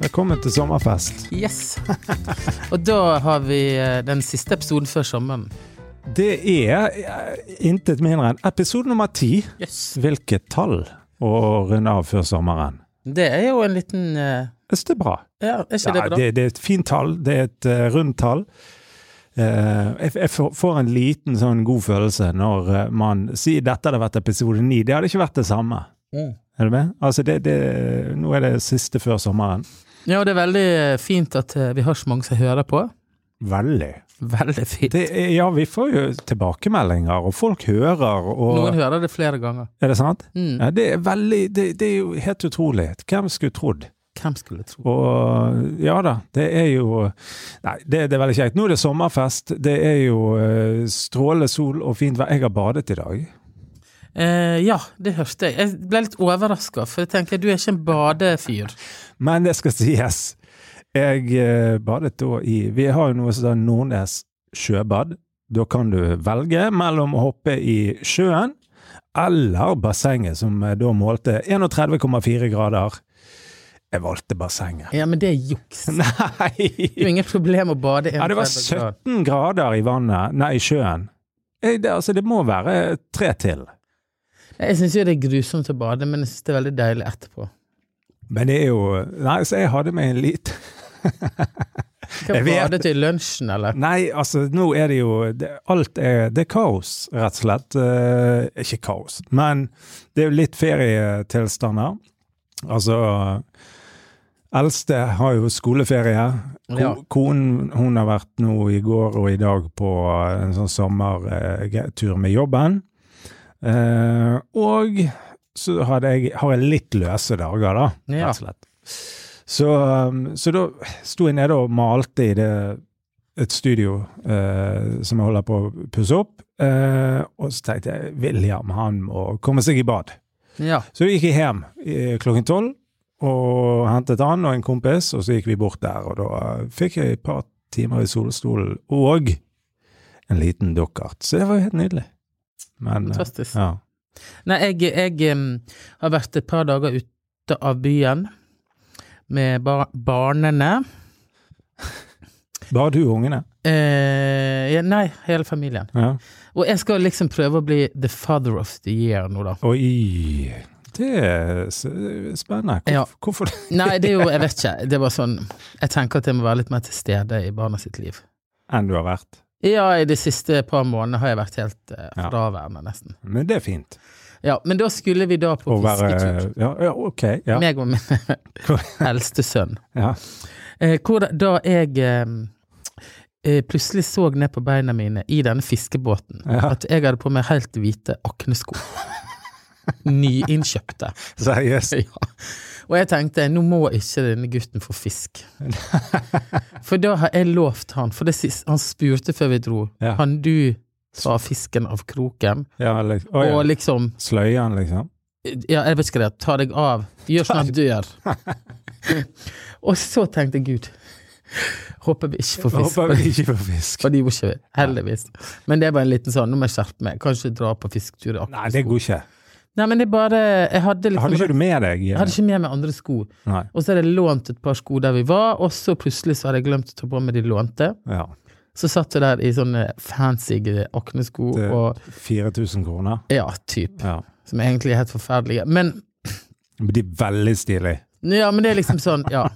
Velkommen til sommerfest. Yes. Og da har vi eh, den siste episoden før sommeren. Det er eh, intet mindre enn episode nummer ti. Yes. Hvilket tall å runde av før sommeren? Det er jo en liten eh, Jeg synes det er bra. Ja, er ikke Ja, det bra? det, det er et fint tall. Det er et eh, rundt tall. Eh, jeg, jeg får- får en liten sånn god følelse når eh, man sier dette hadde vært episode ni. Det hadde ikke vært det samme. Mm. Er du med? Altså, det, det, nå er det siste før sommeren. Ja, og det er veldig eh, fint at eh, vi har så mange som hører på. Veldig. Veldig fint. Det er, ja, vi får jo tilbakemeldinger, og folk hører, og Noen hører det flere ganger. Er det sant? Mm. Ja, det er veldig Det, det er jo helt utrolig. Hvem skulle trodd? Hvem skulle tro? Og ja da, det er jo Nei, det, det er veldig kjekt. Nå er det sommerfest. Det er jo eh, strålende sol og fint vær. Jeg har badet i dag. Eh, ja, det hørte jeg. Jeg ble litt overraska, for jeg tenker du er ikke en badefyr. Men det skal sies. Jeg eh, badet da i Vi har jo noe som heter Nordnes sjøbad. Da kan du velge mellom å hoppe i sjøen eller bassenget, som eh, da målte 31,4 grader. Jeg valgte bassenget. Ja, men det er juks. Det Nei! er jo ingen problem å bade Ja, det var 31 grader. 17 grader i vannet, nei, i sjøen. Eh, Det, altså, det må være tre til. Jeg syns jo det er grusomt å bade, men jeg syns det er veldig deilig etterpå. Men det er jo Nei, så jeg hadde meg en liten Jeg Kan vet- bade til lunsjen, eller? Nei, altså, nå er det jo det, Alt er Det er kaos, rett og slett. Eh, ikke kaos, men det er jo litt ferietilstander. Altså Eldste har jo skoleferie. Ko, Ja. Konen hun har vært nå i går og i dag på en sånn sommertur med jobben. Eh, og så hadde jeg, har jeg litt løse dager, da, rett Ja. og slett. Så, um, så da sto jeg nede og malte i det, et studio eh, som jeg holder på å pusse opp. Eh, og så tenkte jeg William han må komme seg i bad. Ja. Så vi gikk jeg hjem eh, klokken tolv og hentet han og en kompis, og så gikk vi bort der. Og da eh, fikk jeg et par timer i solstolen og en liten dukkert. Så det var jo helt nydelig. Men, eh, Fantastisk. ja. Nei, jeg, jeg em, har vært et par dager ute av byen med bar barnene. Bare du og ungene. Eh, ja, nei, hele familien. Ja. Og jeg skal liksom prøve å bli the father of the year nå, da. Oi, det er s- spennende. Hvorf, Ja. Hvorfor det? Nei, det er jo Jeg vet ikke. Det er bare sånn Jeg tenker at jeg må være litt mer til stede i barna sitt liv. Enn du har vært. Ja, i de siste par månedene har jeg vært helt eh, Ja. fraværende, nesten. Men det er fint. Ja, men da skulle vi da på Å være fisketur. Ja, ja ok. Ja. Meg og min eldste sønn. ja. Eh, hvor da, da jeg eh, eh, plutselig så ned på beina mine i denne fiskebåten Ja. at jeg hadde på meg helt hvite aknesko. Nyinnkjøpte. Seriøst. Ja. Og jeg tenkte nå må ikke denne gutten få fisk. For da har jeg lovt han, for det sist, han spurte før vi dro, Ja. kan du ta fisken av kroken? Ja, liksom. Å, ja. Og liksom Sløyen, liksom. ja, jeg vet ikke det, ta deg av. Gjør sånn at du gjør. og så tenkte jeg, Gud, håper vi ikke får fisk. Håper vi ikke får fisk. For det gjorde ikke vi, heldigvis. Men det er bare en liten sånn, nå må jeg skjerpe meg. Kanskje dra på fisketur. i Nei, Akershus. det går ikke. Nei, men det er bare Jeg hadde liksom Hadde ikke du med deg? eh, jeg hadde ikke med meg andre sko. Nei. Og så hadde jeg lånt et par sko der vi var, og så plutselig så hadde jeg glemt å ta på meg de lånte. Ja. Så satt jeg der i sånne fancy eh, aknesko Det- og 4000 kroner. Ja, typ. Ja. Som egentlig er helt forferdelige. Men Men de er veldig stilige. Ja, men det er liksom sånn, ja.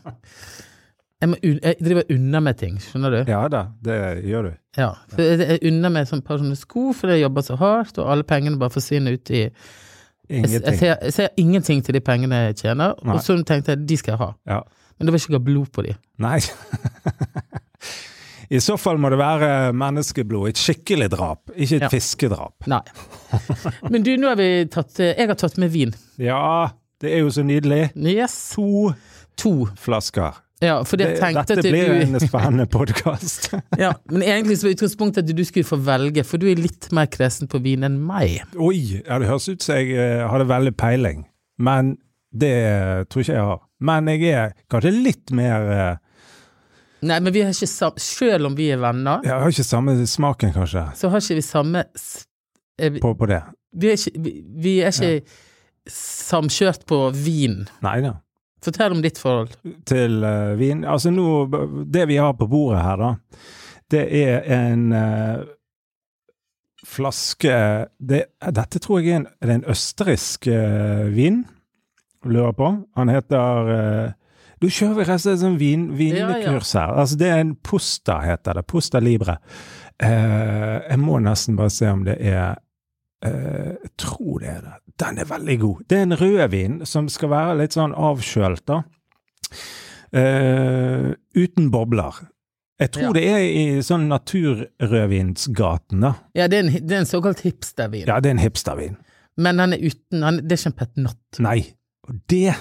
Jeg, må, un- jeg driver unna med ting, skjønner du? Ja da, det gjør du. Ja. For jeg jeg unner meg sånn par sånne sko, fordi jeg jobber så hardt, og alle pengene bare forsvinner ut i Jeg, s- jeg, Ingenting. ser, jeg ser ingenting til de pengene jeg tjener, Nei. og så tenkte jeg de skal jeg ha. Ja. Men det var ikke blod på de. Nei. I så fall må det være menneskeblod. Et skikkelig drap, ikke et Ja. fiskedrap. Nei. Men du, nå har vi tatt eh, Jeg har tatt med vin. Ja, det er jo så nydelig. Yes. To To. flasker. Ja, fordi jeg Det- tenkte Dette at blir du en spennende podkast. ja, Men egentlig så var utgangspunktet at du skulle få velge, for du er litt mer kresen på vin enn meg. Oi, ja, det høres ut som jeg eh, hadde veldig peiling, men det tror ikke jeg har. Men jeg er kanskje litt mer eh, Nei, men vi har ikke sam... Selv om vi er venner, Jeg har ikke samme smaken, kanskje, så har ikke vi samme s- eh, vi- på, på det. Vi er ikke, vi, vi er ikke samkjørt på vin, Nei da. Fortell om ditt forhold. til eh, vin. Altså nå, det vi har på bordet her da, det er en eh, flaske, det, dette tror jeg er en, er det en østerriksk eh, vin, lurer på. Han heter, eh, nå kjører vi resten av en sånn vin, vinlikurs her. Altså det er en posta heter det, posta libre. Eh, jeg må nesten bare se om det er eh, jeg tror det er det. Den er veldig god. Det er en rødvin som skal være litt sånn avkjølt, da. Eh, uten bobler. Jeg tror Ja. det er i sånn naturrødvinsgaten, da. Ja, det er en, det er en såkalt hipstervin, Ja, det er en hipstervin. men den er uten han, Det er ikke en petnott. Nei. Og det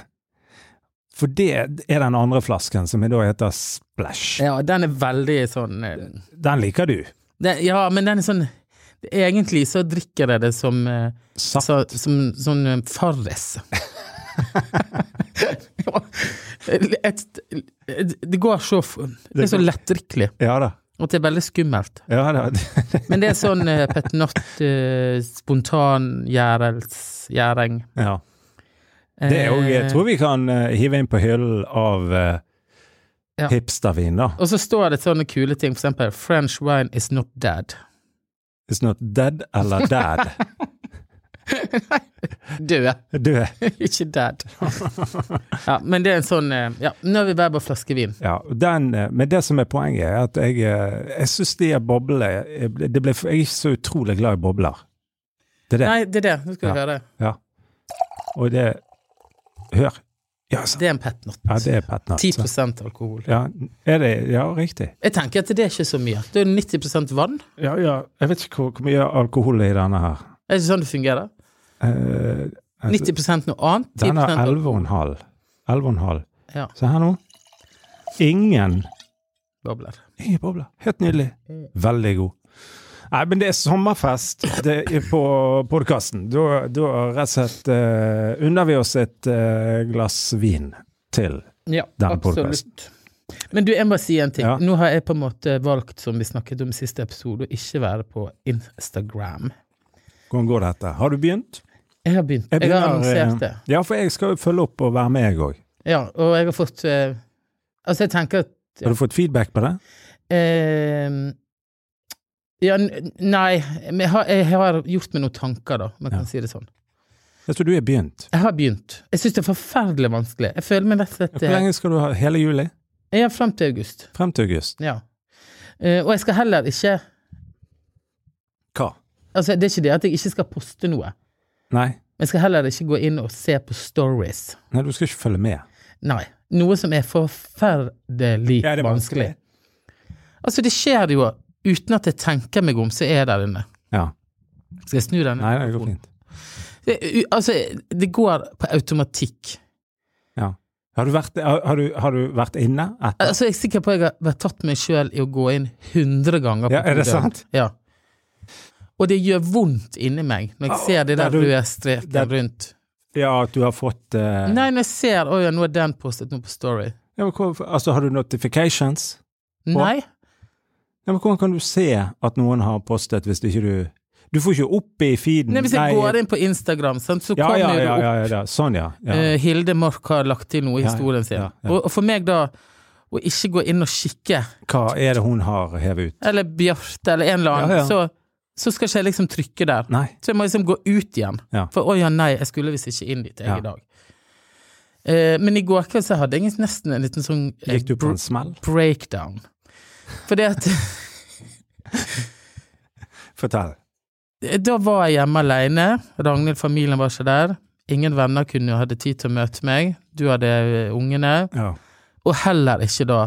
For det er den andre flasken, som da heter Splash. Ja, den er veldig sånn eh, Den liker du. den, Ja, men den er sånn Egentlig så drikker jeg det som eh, Saft. så, som sånn eh, Farris. Ja, et, et, det går så f- Det er så lettdrikkelig Ja da. at det er veldig skummelt. Ja, da. Men det er sånn eh, petnott, eh, spontan gjærels- gjæring. ja. Det er òg Jeg tror vi kan eh, hive inn på hyllen av eh, Ja. hipstervin, da. Og så står det sånne kule ting, for eksempel 'French wine is not dead'. It's not dead eller dad. Død, Død. ikke dead. Ja, men det er en sånn eh, Ja, nå er vi bare på flaskevin. Ja, den, eh, men det som er poenget, er at jeg, eh, jeg syns de er bobler Jeg ble- det ble- jeg er ikke så utrolig glad i bobler. Det er det. Nei, det er det. Nå skal vi høre. Ja. Og det Hør. Ja, sant. Det er en petnott. ja det er petnat. 10 alkohol. Ja, er det, ja, riktig. Jeg tenker at det er ikke så mye. Det er 90 vann. Ja, ja. Jeg vet ikke hvor, hvor mye alkohol er i denne her. Er det ikke sånn det fungerer? Eh, altså, 90 noe annet. 10 den er alkohol. 11,5. 11,5. Ja. Se her nå. Ingen bobler. Ingen bobler. Helt nydelig. Veldig god. Nei, men det er sommerfest det er på podkasten. Da, da rett og slett eh, unner vi oss et eh, glass vin til. Ja, Den absolutt. Men du, jeg må si en ting. Ja. Nå har jeg på en måte valgt, som vi snakket om i siste episode, å ikke være på Instagram. Hvordan går dette? Har du begynt? Jeg har begynt. Jeg, har begynner, eh, annonsert det. Ja, for jeg skal jo følge opp og være med, jeg òg. Ja, og jeg har fått eh, Altså, jeg tenker at Ja. Har du fått feedback på det? eh, Ja, n- nei men jeg har, jeg har gjort meg noen tanker, da, om jeg Ja. kan si det sånn. Jeg tror du er begynt. Jeg har begynt. Jeg syns det er forferdelig vanskelig. Jeg føler meg rett og slett Hvor eh, lenge skal du ha? Hele juli? Jeg er frem til august. Frem til august? Ja. Eh, og jeg skal heller ikke Hva? Altså, det er ikke det at jeg ikke skal poste noe. Nei. Men jeg skal heller ikke gå inn og se på stories. Nei, du skal ikke følge med. Nei. Noe som er forferdelig Ja, det er vanskelig. vanskelig. Altså, det skjer jo uten at jeg tenker meg om, så er jeg der inne. Ja. Skal jeg snu den? Nei, det går fint. Det, u- altså, det går på automatikk. Ja. Har du vært, har, har du, har du vært inne etter? Altså, jeg er sikker på at jeg har vært tatt meg sjøl i å gå inn 100 ganger. på Ja, er det to døgn. sant? Ja. Og det gjør vondt inni meg når jeg Au, ser de der der du- røde strekene der- rundt. Ja, at du har fått eh, Nei, når jeg ser Å ja, nå er den postet nå på Story. Ja, men hvor, altså, har du notifications? Nei. Ja, men hvordan kan du se at noen har postet hvis ikke du Du får ikke opp i feeden. Nei, hvis jeg går inn på Instagram, sant, så ja, kommer ja, jo det ja, opp ja, ja, ja. Sånn, ja. ja. eh, Hilde Mork har lagt til noe i Ja, historien sin. ja, ja. Og, og for meg da, å ikke gå inn og kikke, Hva er det hun har hevet ut? eller Bjarte eller en eller annen, Ja, ja. Så, så skal ikke jeg liksom trykke der. Nei. Så jeg må liksom gå ut igjen. Ja. For å ja, nei, jeg skulle visst ikke inn dit jeg Ja. i dag. Eh, men i går kveld så hadde jeg nesten en liten sånn eh, Gikk du på br- en smell? breakdown. Fordi at Fortell. Da var jeg hjemme alene. Ragnhild, familien var ikke der. Ingen venner kunne hadde tid til å møte meg. Du hadde eh, ungene. Ja. Og heller ikke da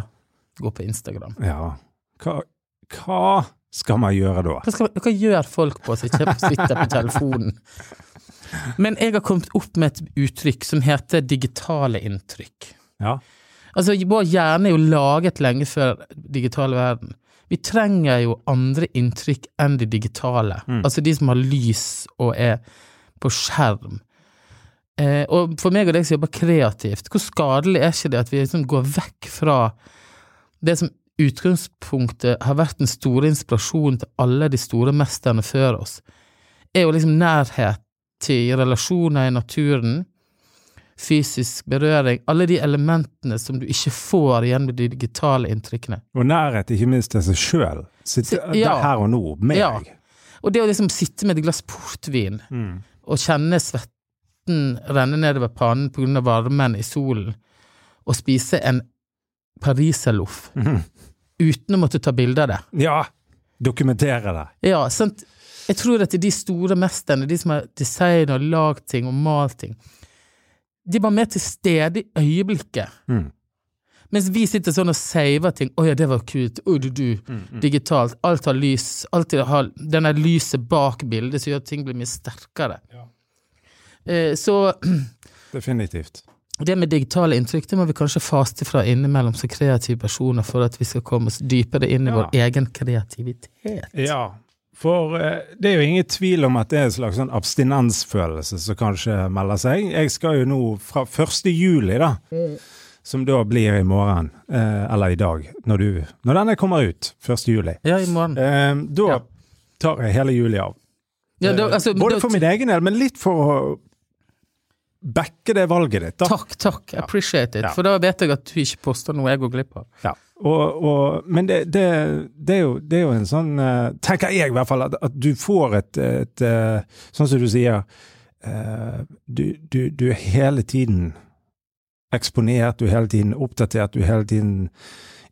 gå på Instagram. ja. Hva, hva skal man gjøre da? Hva, skal, hva gjør folk på som ikke sitter på telefonen? Men jeg har kommet opp med et uttrykk som heter digitale inntrykk. Ja. Altså, vår hjerne er jo laget lenge før digital verden. Vi trenger jo andre inntrykk enn de digitale. Altså de som har lys og er på skjerm. Eh, og for meg og deg som jobber kreativt, hvor skadelig er ikke det at vi liksom går vekk fra det som utgangspunktet har vært den store inspirasjonen til alle de store mesterne før oss, er jo liksom nærhet til relasjoner i naturen, fysisk berøring, alle de elementene som du ikke får igjen med de digitale inntrykkene. Og nærhet, ikke minst til seg sjøl. Sitte Så- ja. der her og nå, med Ja. deg. Og det å liksom sitte med et glass portvin Mm. og kjenne svetten renne nedover pannen pga. varmen i solen, og spise en pariserloff Mhm. uten å måtte ta bilde av det. Ja! Dokumentere det. Ja, sant? Jeg tror at de store mesterne, de som har designet og lagd ting og malt ting, de var mer til stede i øyeblikket. Mm. Mens vi sitter sånn og saver ting. 'Å ja, det var kult.' Oi, du, du. Mm, Digitalt. Alt har lys. Alt har denne lyset bak bildet som gjør at ting blir mye sterkere. Eh, så Definitivt. det med digitale inntrykk det må vi kanskje faste fra innimellom som kreative personer for at vi skal komme oss dypere inn i Ja. vår egen kreativitet. Ja, for eh, det er jo ingen tvil om at det er en slags sånn abstinensfølelse som kanskje melder seg. Jeg skal jo nå fra 1. juli, da, som da blir i morgen, eh, eller i dag, når, du, når denne kommer ut, 1. juli, Ja, i morgen. eh, da Ja. tar jeg hele juli av. Ja, da, Eh, altså, Både da- for min egen del, men litt for å backe det valget ditt, da. Takk, takk. Appreciate it. Ja. For da vet jeg at du ikke poster noe jeg går glipp av. Ja. Og, og, men det, det, det, er jo, det er jo en sånn eh, Tenker jeg i hvert fall, at, at du får et, et eh, Sånn som du sier eh, du, du, du er hele tiden eksponert, du er hele tiden oppdatert, du er hele tiden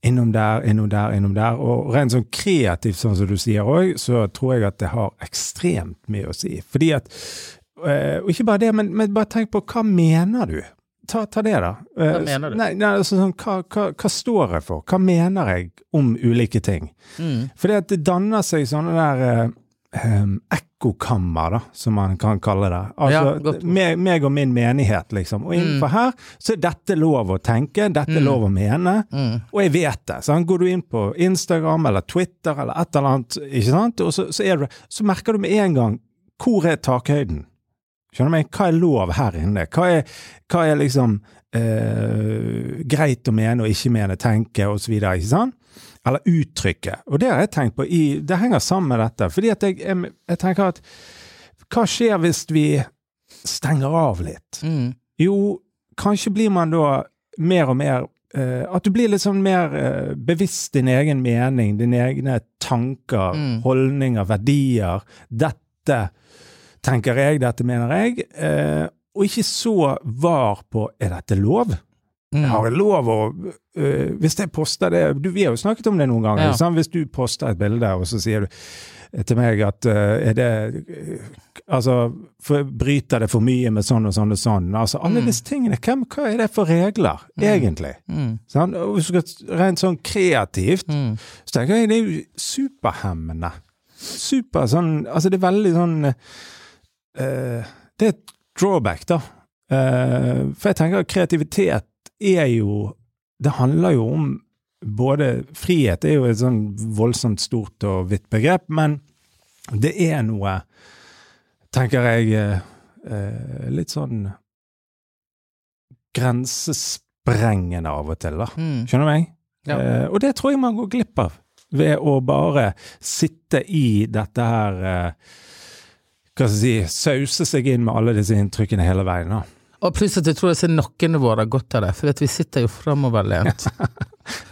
innom der, innom der, innom der. Og rent sånn kreativt, sånn som du sier òg, så tror jeg at det har ekstremt mye å si. Fordi at eh, Og ikke bare det, men, men bare tenk på hva mener du? Ta, ta det, da. Eh, Hva mener du? Nei, nei, altså, sånn, hva, hva, hva står jeg for? Hva mener jeg om ulike ting? Mm. Fordi at det danner seg sånne der eh, em, ekkokammer, da, som man kan kalle det. Ja, Altså, godt. Mm. meg, meg og min menighet, liksom. Og innenfor her så er dette lov å tenke, dette er lov å mene. Mm. Og jeg vet det. Sant? Går du inn på Instagram eller Twitter eller et eller annet, ikke sant? og så, så, er du, så merker du med en gang hvor er takhøyden. Skjønner du meg? Hva er lov her inne? Hva er, hva er liksom eh, greit å mene og ikke mene, tenke og så videre, ikke sant? Eller uttrykke. Og det har jeg tenkt på. I, det henger sammen med dette. Fordi at jeg, jeg, jeg tenker at hva skjer hvis vi stenger av litt? Mm. Jo, kanskje blir man da mer og mer eh, At du blir litt sånn mer eh, bevisst din egen mening, dine egne tanker, Mm. holdninger, verdier. Dette tenker jeg, dette mener jeg. eh, og ikke så var på er dette lov? Mm. Har jeg lov å øh, Hvis jeg poster det du, Vi har jo snakket om det noen ganger. Ja. sant? Hvis du poster et bilde, og så sier du til meg at øh, er det øh, Altså, for, bryter det for mye med sånn og sånn og sånn? Altså, alle Mm. disse tingene. Hvem, hva er det for regler, egentlig? Mm. Sant? Og hvis du skal rent sånn kreativt, Mm. så tenker jeg det er jo superhemmende. Super sånn Altså, det er veldig sånn eh, Det er et drawback, da. Eh, for jeg tenker at kreativitet er jo Det handler jo om både Frihet er jo et sånn voldsomt stort og vidt begrep, men det er noe, tenker jeg, eh, eh, litt sånn grensesprengende av og til, da. Mm. Skjønner du meg? Ja. Eh, og det tror jeg man går glipp av ved å bare sitte i dette her eh, Hva skal jeg si Sause seg inn med alle disse inntrykkene hele veien. Da. Og pluss at jeg tror jeg ser nakkene våre har godt av det, for at vi sitter jo framoverlent.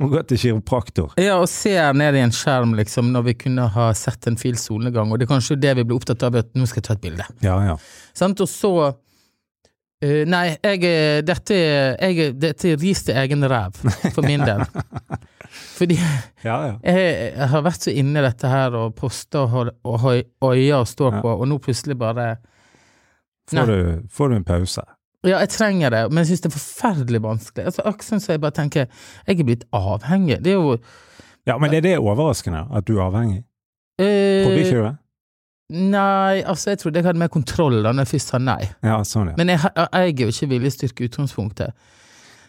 Må gå til kiropraktor. Ja, og ser ned i en skjerm, liksom, når vi kunne ha sett en fil solnedgang, og det er kanskje det vi blir opptatt av, at nå skal jeg ta et bilde. Ja, ja. Sant? Og så eh, Nei, jeg, eh, dette, er- jeg, er- dette er ris til egen ræv, for min del. Fordi ja, ja. jeg, jeg har vært så inne i dette her og poster og hold- og hoi- øyer og står Ja. på, og nå plutselig bare Nei. Får, du, får du en pause? Ja, jeg trenger det, men jeg syns det er forferdelig vanskelig. Altså, Aksen, så jeg bare tenker Jeg er blitt avhengig. Det er jo Ja, men er det overraskende at du er avhengig? Trodde eh, ikke du det? Nei, altså, jeg trodde jeg hadde mer kontroll da når jeg først sa nei. Ja, sånn, ja. Men jeg, ha- jeg er jo ikke viljestyrke i utgangspunktet.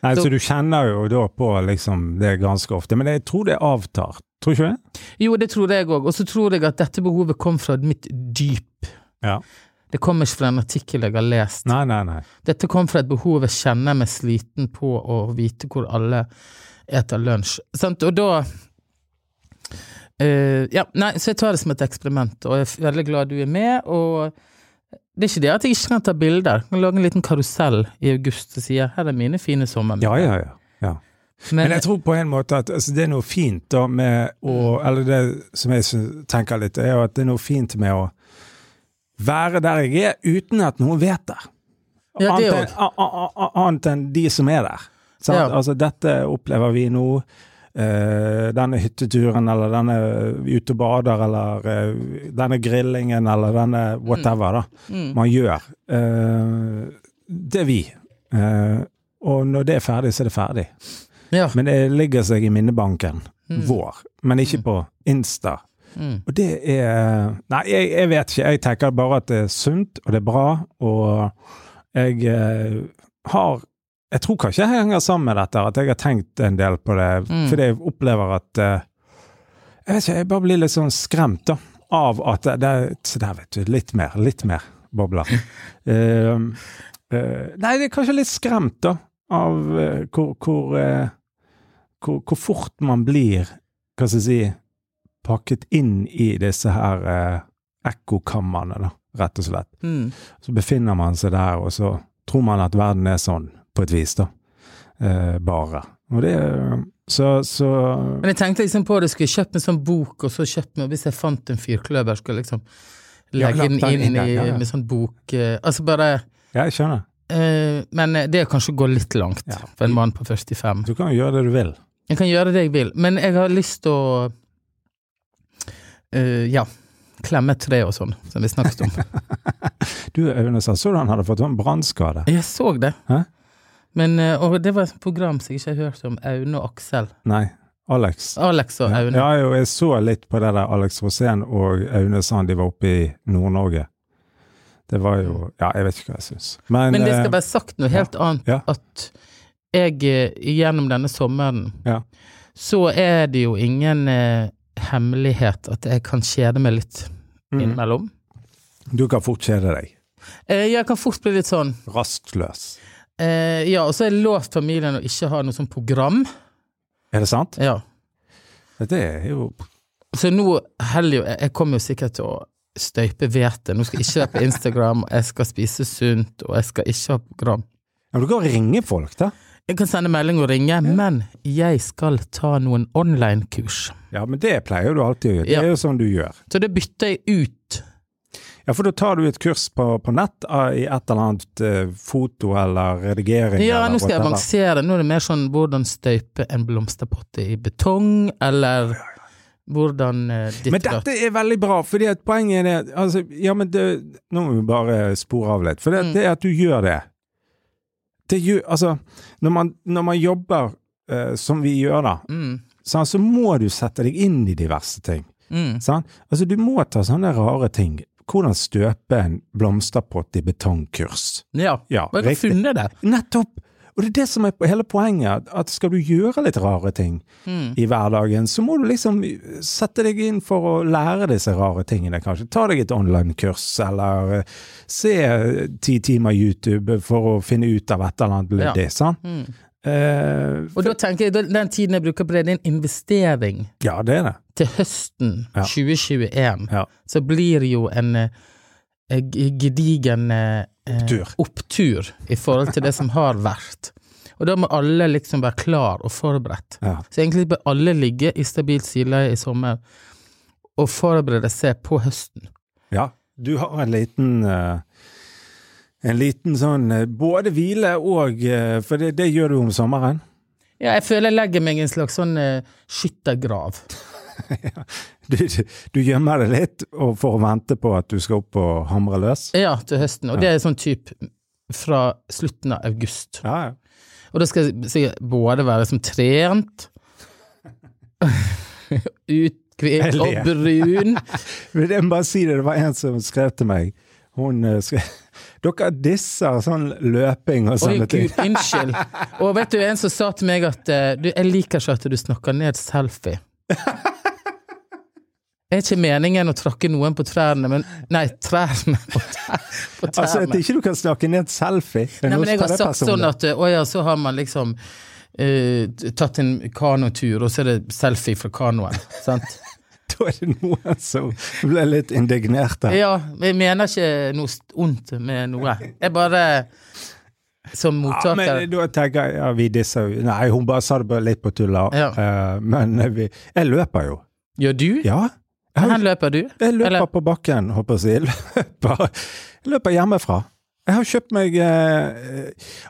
Nei, så- så du kjenner jo da på liksom det ganske ofte, men jeg tror det avtar. Tror ikke du det? Jo, det trodde jeg òg, og så tror jeg at dette behovet kom fra mitt dyp. Ja. Det kommer ikke fra en artikkel jeg har lest. Nei, nei, nei. Dette kom fra et behov jeg kjenner meg sliten på å vite hvor alle eter lunsj. Sant? Og da eh, Ja, nei, så jeg tar det som et eksperiment, og jeg er veldig glad du er med, og Det er ikke det at jeg ikke kan ta bilder. Jeg kan lage en liten karusell i august som sier 'her er mine fine sommerminner'. Ja, ja, ja. ja. Men eh, jeg tror på en måte at altså, det er noe fint da med å Mm. Eller det som jeg sy- tenker litt, er jo at det er noe fint med å være der jeg er, uten at noen vet det. Ja, det annet, enn, a- a- a- annet enn de som er der. Sant? Ja. Altså, dette opplever vi nå. Eh, denne hytteturen, eller denne ute og bader, eller eh, denne grillingen, eller denne whatever, da Mm. man gjør. Eh, det er vi. Eh, og når det er ferdig, så er det ferdig. Ja. Men det ligger seg i minnebanken Mm. vår, men ikke på Insta. Mm. Og det er Nei, jeg, jeg vet ikke. Jeg tenker bare at det er sunt, og det er bra, og jeg eh, har Jeg tror kanskje jeg henger sammen med dette, at jeg har tenkt en del på det, Mm. fordi jeg opplever at eh, Jeg vet ikke, jeg bare blir litt sånn skremt, da, av at det, det Se der, vet du. Litt mer, litt mer bobler. Ehm, eh, nei, det er kanskje litt skremt, da, av eh, hvor hvor, eh, hvor hvor fort man blir, hva skal jeg si, pakket inn i disse her eh, ekkokamrene, da, rett og slett. Mm. Så befinner man seg der, og så tror man at verden er sånn, på et vis, da. Eh, bare. Og det er- Så, så Men jeg tenkte liksom på det, skulle jeg kjøpt en sånn bok, og så kjøpt meg, hvis jeg fant en fyrkløver, skulle jeg liksom Ja, legge den lagt den inn, inn der, i, ja, ja. med sånn bok eh, Altså bare Ja, jeg skjønner. eh, Men det er kanskje å gå litt langt Ja. for en mann på 45. Du kan jo gjøre det du vil. Jeg kan gjøre det jeg vil, men jeg har lyst til å eh, Ja. Klemme et tre og sånn, som vi snakket om. Du, Aune, sa- så du han hadde fått en brannskade? Jeg så det. Hæ? Men, eh, og det var et program som jeg ikke har hørt om. Aune og Aksel. Nei. Alex. Alex og Aune. Ja, jo, jeg så litt på det der Alex Rosén og Aune Sand, de var oppe i Nord-Norge. Det var jo Ja, jeg vet ikke hva jeg syns. Men, Men det skal eh, være sagt noe helt annet. Ja. At jeg eh, gjennom denne sommeren, Ja. så er det jo ingen eh, hemmelighet at jeg kan kjede meg litt mm, innimellom. Du kan fort kjede deg. Eh, jeg kan fort bli litt sånn. Rastløs. Eh, ja, og så har jeg lovt familien å ikke ha noe sånt program. Er det sant? Ja. Dette er jo Så nå heller jo Jeg jeg kommer jo sikkert til å støype hvete. Nå skal jeg ikke være på Instagram, og jeg skal spise sunt, og jeg skal ikke ha program. ja, men Du kan ringe folk, da. Jeg kan sende melding og ringe, men jeg skal ta noen online-kurs. Ja, men det pleier du alltid å gjøre. Det Ja. er jo sånn du gjør. Så det bytter jeg ut. Ja, for da tar du et kurs på, på nett ah, i et eller annet eh, foto eller redigering Ja, eller nå skal jeg whatever. avansere. Nå er det mer sånn hvordan støype en blomsterpotte i betong, eller hvordan eh, ditt Men og datt. dette er veldig bra, fordi at poenget er altså, ja, men det, Nå må vi bare spore av litt. For det, Mm. det er at du gjør det. det gjør, altså, når man, når man jobber eh, som vi gjør, da, Mm, sant, så må du sette deg inn i diverse ting. mm, Sant? Altså, du må ta sånne rare ting. Hvordan støpe en blomsterpott i betongkurs. ja. Ja, Og jeg har riktig. funnet det. Nettopp! Og det er det som er hele poenget, at skal du gjøre litt rare ting Mm. i hverdagen, så må du liksom sette deg inn for å lære disse rare tingene, kanskje. Ta deg et online-kurs, eller eh, se eh, ti timer YouTube for å finne ut av et eller annet Ja. luddig, sant? Mm. Eh, Og da tenker jeg, da- den tiden jeg bruker på det, det er en investering ja, det er det. til høsten Ja. 2021. Ja. Så blir det jo en eh, g- gedigen eh, Opptur. opptur i forhold til det som har vært. Og da må alle liksom være klar og forberedt. Ja. Så egentlig bør alle ligge i stabilt sideleie i sommer og forberede seg på høsten. ja. Du har en liten eh, en liten sånn eh, både hvile og eh, For det, det gjør du om sommeren. Ja, jeg føler jeg legger meg i en slags sånn eh, skyttergrav. Du, du gjemmer det litt og for å vente på at du skal opp og hamre løs. Ja, til høsten. Og det er sånn type fra slutten av august. Ja, ja. Og da skal jeg sikkert både være som trent Utkvitt og Jeg brun. Men jeg må bare si det, det var en som skrev til meg. Hun eh, skrev Dere disser sånn løping og Oi, sånne ting. gud, unnskyld. Og vet du, en som sa til meg at eh, du, jeg liker ikke at du snakker ned selfie. Det er ikke meningen å trakke noen på trærne, men Nei, trærne på tær- på tærne. Altså at ikke du kan snakke ned selfie. Det er Nei, noe men jeg som har tar det sagt sånn personlig. at eh, å ja, så har man liksom eh, tatt en kanotur, og så er det selfie fra kanoen. Sant? Da er det noen som ble litt indignert her. Ja, jeg mener ikke noe st- ondt med noe. Jeg bare Som Ja, mottaker men da tenker jeg ja, vi disser jo Nei, hun bare sa det bare litt på tulla. Ja. Eh, men vi, jeg løper jo. Gjør du? Ja. Jeg, Hvor har- løper du? jeg løper eller- på bakken, håper jeg å si. Jeg Løper, jeg løper hjemmefra. Jeg har kjøpt meg eh,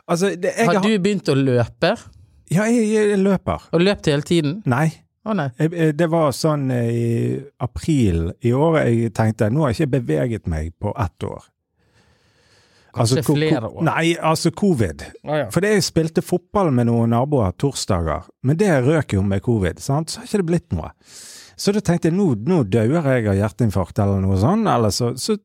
Altså, det, jeg Har du begynt å løpe? Ja, jeg, jeg løper. Og løpt hele tiden? Nei. Å nei. Jeg- jeg- Det var sånn eh, i april i år jeg tenkte nå har jeg ikke beveget meg på ett år. Kanskje ko- ko- flere år. Nei, altså covid. Å ja. For det jeg spilte fotball med noen naboer torsdager, men det røk jo med covid, sant? så har ikke det blitt noe. Så da tenkte jeg nå, nå dauer jeg av hjerteinfarkt eller noe sånt, eller så, så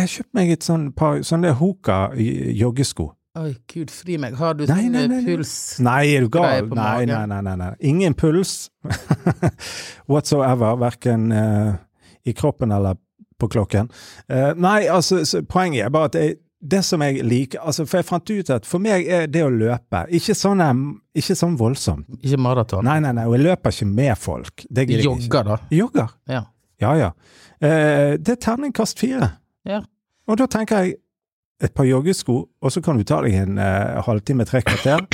jeg kjøpte meg et sånn par sånne Hoka j- joggesko. Oi, gud, fri meg. Har du Nei, sånn nei, eh, nei, nei. puls? Nei, er du gal? Greie på Nei, magen. nei, nei, nei, nei. Ingen puls whatsoever, verken eh, i kroppen eller på klokken. Eh, nei, altså, så, poenget er bare at jeg, det som jeg liker altså, For jeg fant ut at for meg er det å løpe ikke sånn, em, ikke sånn voldsomt. Ikke maraton? Nei, nei, nei, og jeg løper ikke med folk. Det Du gidder jeg ikke. jogger, da? Jogger. Ja. Ja, ja. Eh, det er terningkast fire. Ja. Og da tenker jeg et par joggesko, og så kan du ta deg en eh, halvtime, tre kvarter.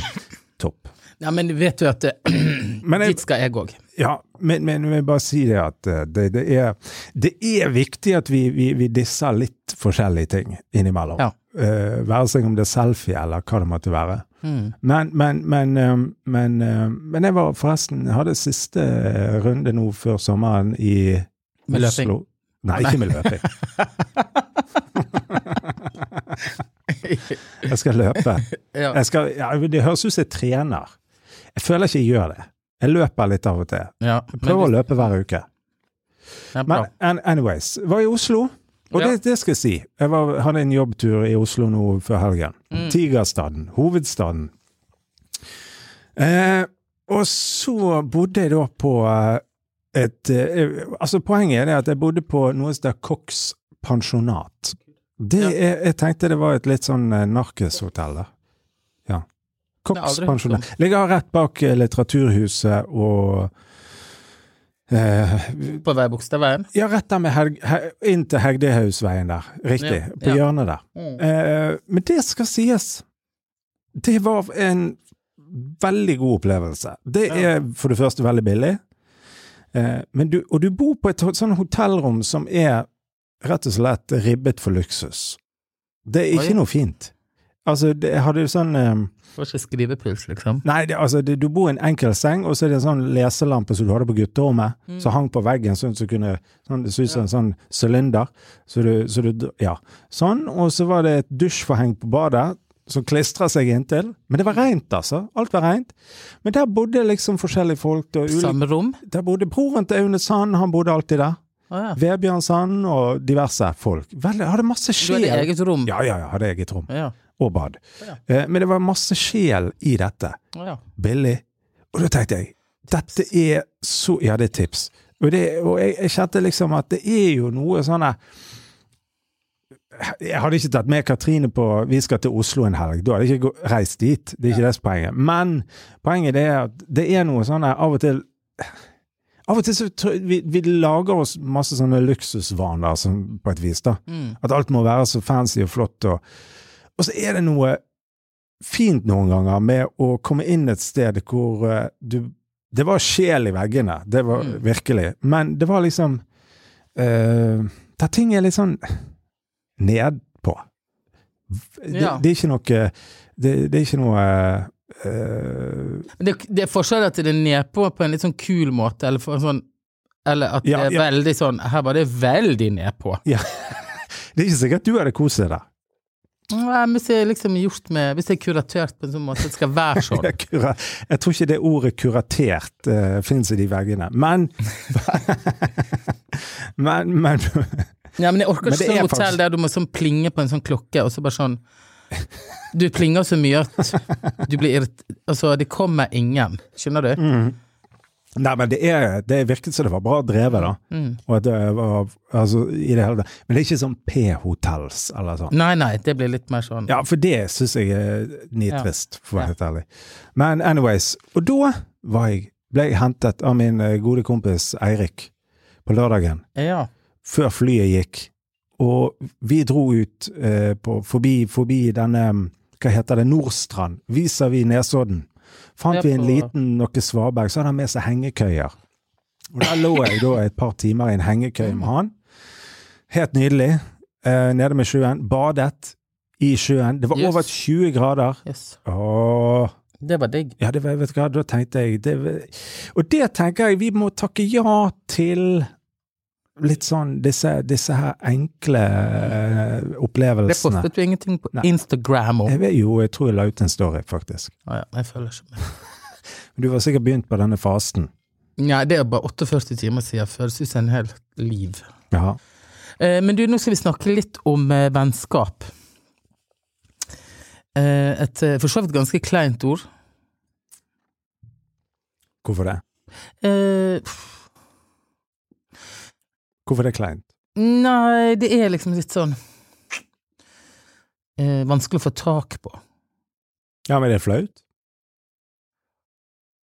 Topp. Nei, men vet du at eh, Men jeg- dit skal jeg òg. Ja, men, men jeg vil bare si det at eh, det, det, er, det er viktig at vi, vi, vi disser litt forskjellige ting innimellom. Ja. Eh, være seg om det er selfie eller hva det måtte være. Mm. Men, men, men, eh, men, eh, men jeg var forresten jeg hadde siste eh, runde nå før sommeren i Med løping. Oslo. Nei, ikke med løping. Jeg skal løpe. ja. Jeg skal, ja, det høres ut som jeg trener. Jeg føler ikke jeg gjør det. Jeg løper litt av og til. ja. Jeg prøver å løpe hver uke. Ja, bra. Men an- anyways, var i Oslo, og Ja. det, det skal jeg si. Jeg var, hadde en jobbtur i Oslo nå før helgen. Mm. Tigerstaden, hovedstaden. Eh, og så bodde jeg da på eh, et eh, Altså, poenget er det at jeg bodde på noe som heter Cox pensjonat. Det Ja. er, jeg tenkte det var et litt sånn eh, narkishotell, da. Ja. har jeg Cox aldri hørt om. pensjonat. Ligger rett bak eh, Litteraturhuset og eh, På vei Bogstadveien? ja, rett der med Helg, he, inn til Hegdehaugsveien der. Riktig. Ja, På ja. hjørnet der. Mm. Eh, men det skal sies, det var en veldig god opplevelse. Det Ja. er for det første veldig billig, eh, men du, og du bor på et ho- sånn hotellrom som er rett og slett ribbet for luksus. Det er Oi. ikke noe fint. Altså, det, jeg hadde jo sånn eh, Får ikke skrivepuls, liksom. Nei, det, altså, det, du bor i en enkel seng, og så er det en sånn leselampe som du hadde på gutterommet, Mm. som hang på veggen, sånn som kunne sånn, Det så ut som en sånn sylinder. Så du, så du Ja. Sånn. Og så var det et dusjforheng på badet som klistra seg inntil. Men det var rent, altså. Alt var rent. Men der bodde liksom forskjellige folk. Og ulike, Samme rom? der bodde broren til Aune Sand, han bodde alltid der. Å ja. Vebjørn Sand og diverse folk. Veldig, hadde masse Du sjel. hadde eget rom? Ja, ja, ja, hadde eget rom. Ja. Og bad. Eh, Men det var masse sjel i dette Å ja. billig. Og da tenkte jeg, dette er så Ja, det er tips. Og, det, og jeg, jeg kjente liksom at det er jo noe sånn der- Jeg hadde ikke tatt med Katrine på Vi skal til Oslo en helg. Da hadde jeg ikke gå- reist dit. Det er ikke det som er poenget. Men poenget det er at det er noe sånn der av og til Av og til så tror- vi, vi lager oss masse sånne luksusvaner som, på et vis, da. Mm. At alt må være så fancy og flott. Og, og så er det noe fint noen ganger med å komme inn et sted hvor eh, du Det var sjel i veggene, det var Mm. virkelig. Men det var liksom eh, Der ting er litt sånn nedpå. Det, Ja. det er ikke noe Det, det er ikke noe eh, Men Det, det er forskjell at det er nedpå på en litt sånn kul måte, eller, for en sånn, eller at Ja, det er ja. veldig sånn Her var det veldig nedpå. Det er ikke sikkert du hadde kost deg der. Nei, men Hvis det er liksom gjort med Hvis det er kuratert på en sånn måte at det skal være sånn. Jeg, kura, jeg tror ikke det ordet 'kuratert' uh, fins i de veggene, men Men, men Ja, men jeg orker Men det ikke sånn er hotell faktisk- der du må sånn plinge på en sånn klokke, og så bare sånn Du plinger så mye at du blir irrit... Altså, det kommer ingen, skjønner du? Mm. Nei, men det, er, det virket som det var bra drevet, da. Og at det var, altså, i det hele tatt. Men det er ikke sånn P-hotels eller sånn. Nei, nei, det blir litt mer sånn Ja, for det syns jeg er nitrist, for å være helt ærlig. Men anyways. Og da var jeg, ble jeg hentet av min eh, gode kompis Eirik på lørdagen, Ja. før flyet gikk. Og vi dro ut eh, på, forbi, forbi denne, hva heter det, Nordstrand, vis-à-vis Nesodden. Fant Ja, vi en på- liten noe svaberg, så hadde han med seg hengekøyer. Og der lå jeg da et par timer i en hengekøye med han. Helt nydelig. Eh, nede med sjøen. Badet i sjøen. Det var Yes. over 20 grader. Yes. Åh. Det var digg. Ja, det var, vet du hva, da tenkte jeg det, var- Og det tenker jeg vi må takke ja til litt sånn disse, disse her enkle eh, Det opplevelsene. postet du ingenting på Nei. Instagram om. Jeg vet jo, jeg tror jeg la ut en story, faktisk. Å ja, jeg føler ikke med. Men Du var sikkert begynt på denne fasen. Nei, det er bare 48 timer siden. Føles ut som en hel liv. Ja. Eh, men du, nå skal vi snakke litt om eh, vennskap. Eh, et eh, for så vidt ganske kleint ord. Hvorfor det? Eh, Hvorfor det er kleint? Nei, det er liksom litt sånn eh, Vanskelig å få tak på. Ja, men det er flaut?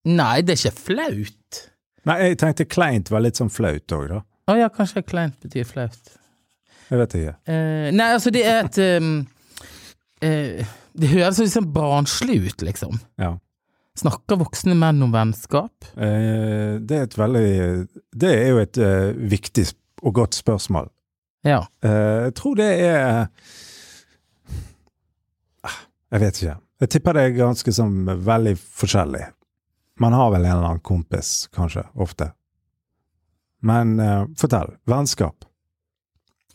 Nei, det er ikke flaut. Nei, jeg tenkte kleint var litt sånn flaut òg, da. Å ja, kanskje kleint betyr flaut. Jeg vet ikke. Eh, nei, altså, det er et um, eh, Det høres litt sånn barnslig ut, liksom. Ja. Snakker voksne menn om vennskap? Eh, det er et veldig Det er jo et eh, viktig og godt spørsmål. Ja. Eh, jeg tror det er Ah, Jeg vet ikke. Jeg tipper det er ganske sånn veldig forskjellig. Man har vel en eller annen kompis, kanskje, ofte. Men eh, fortell. Vennskap.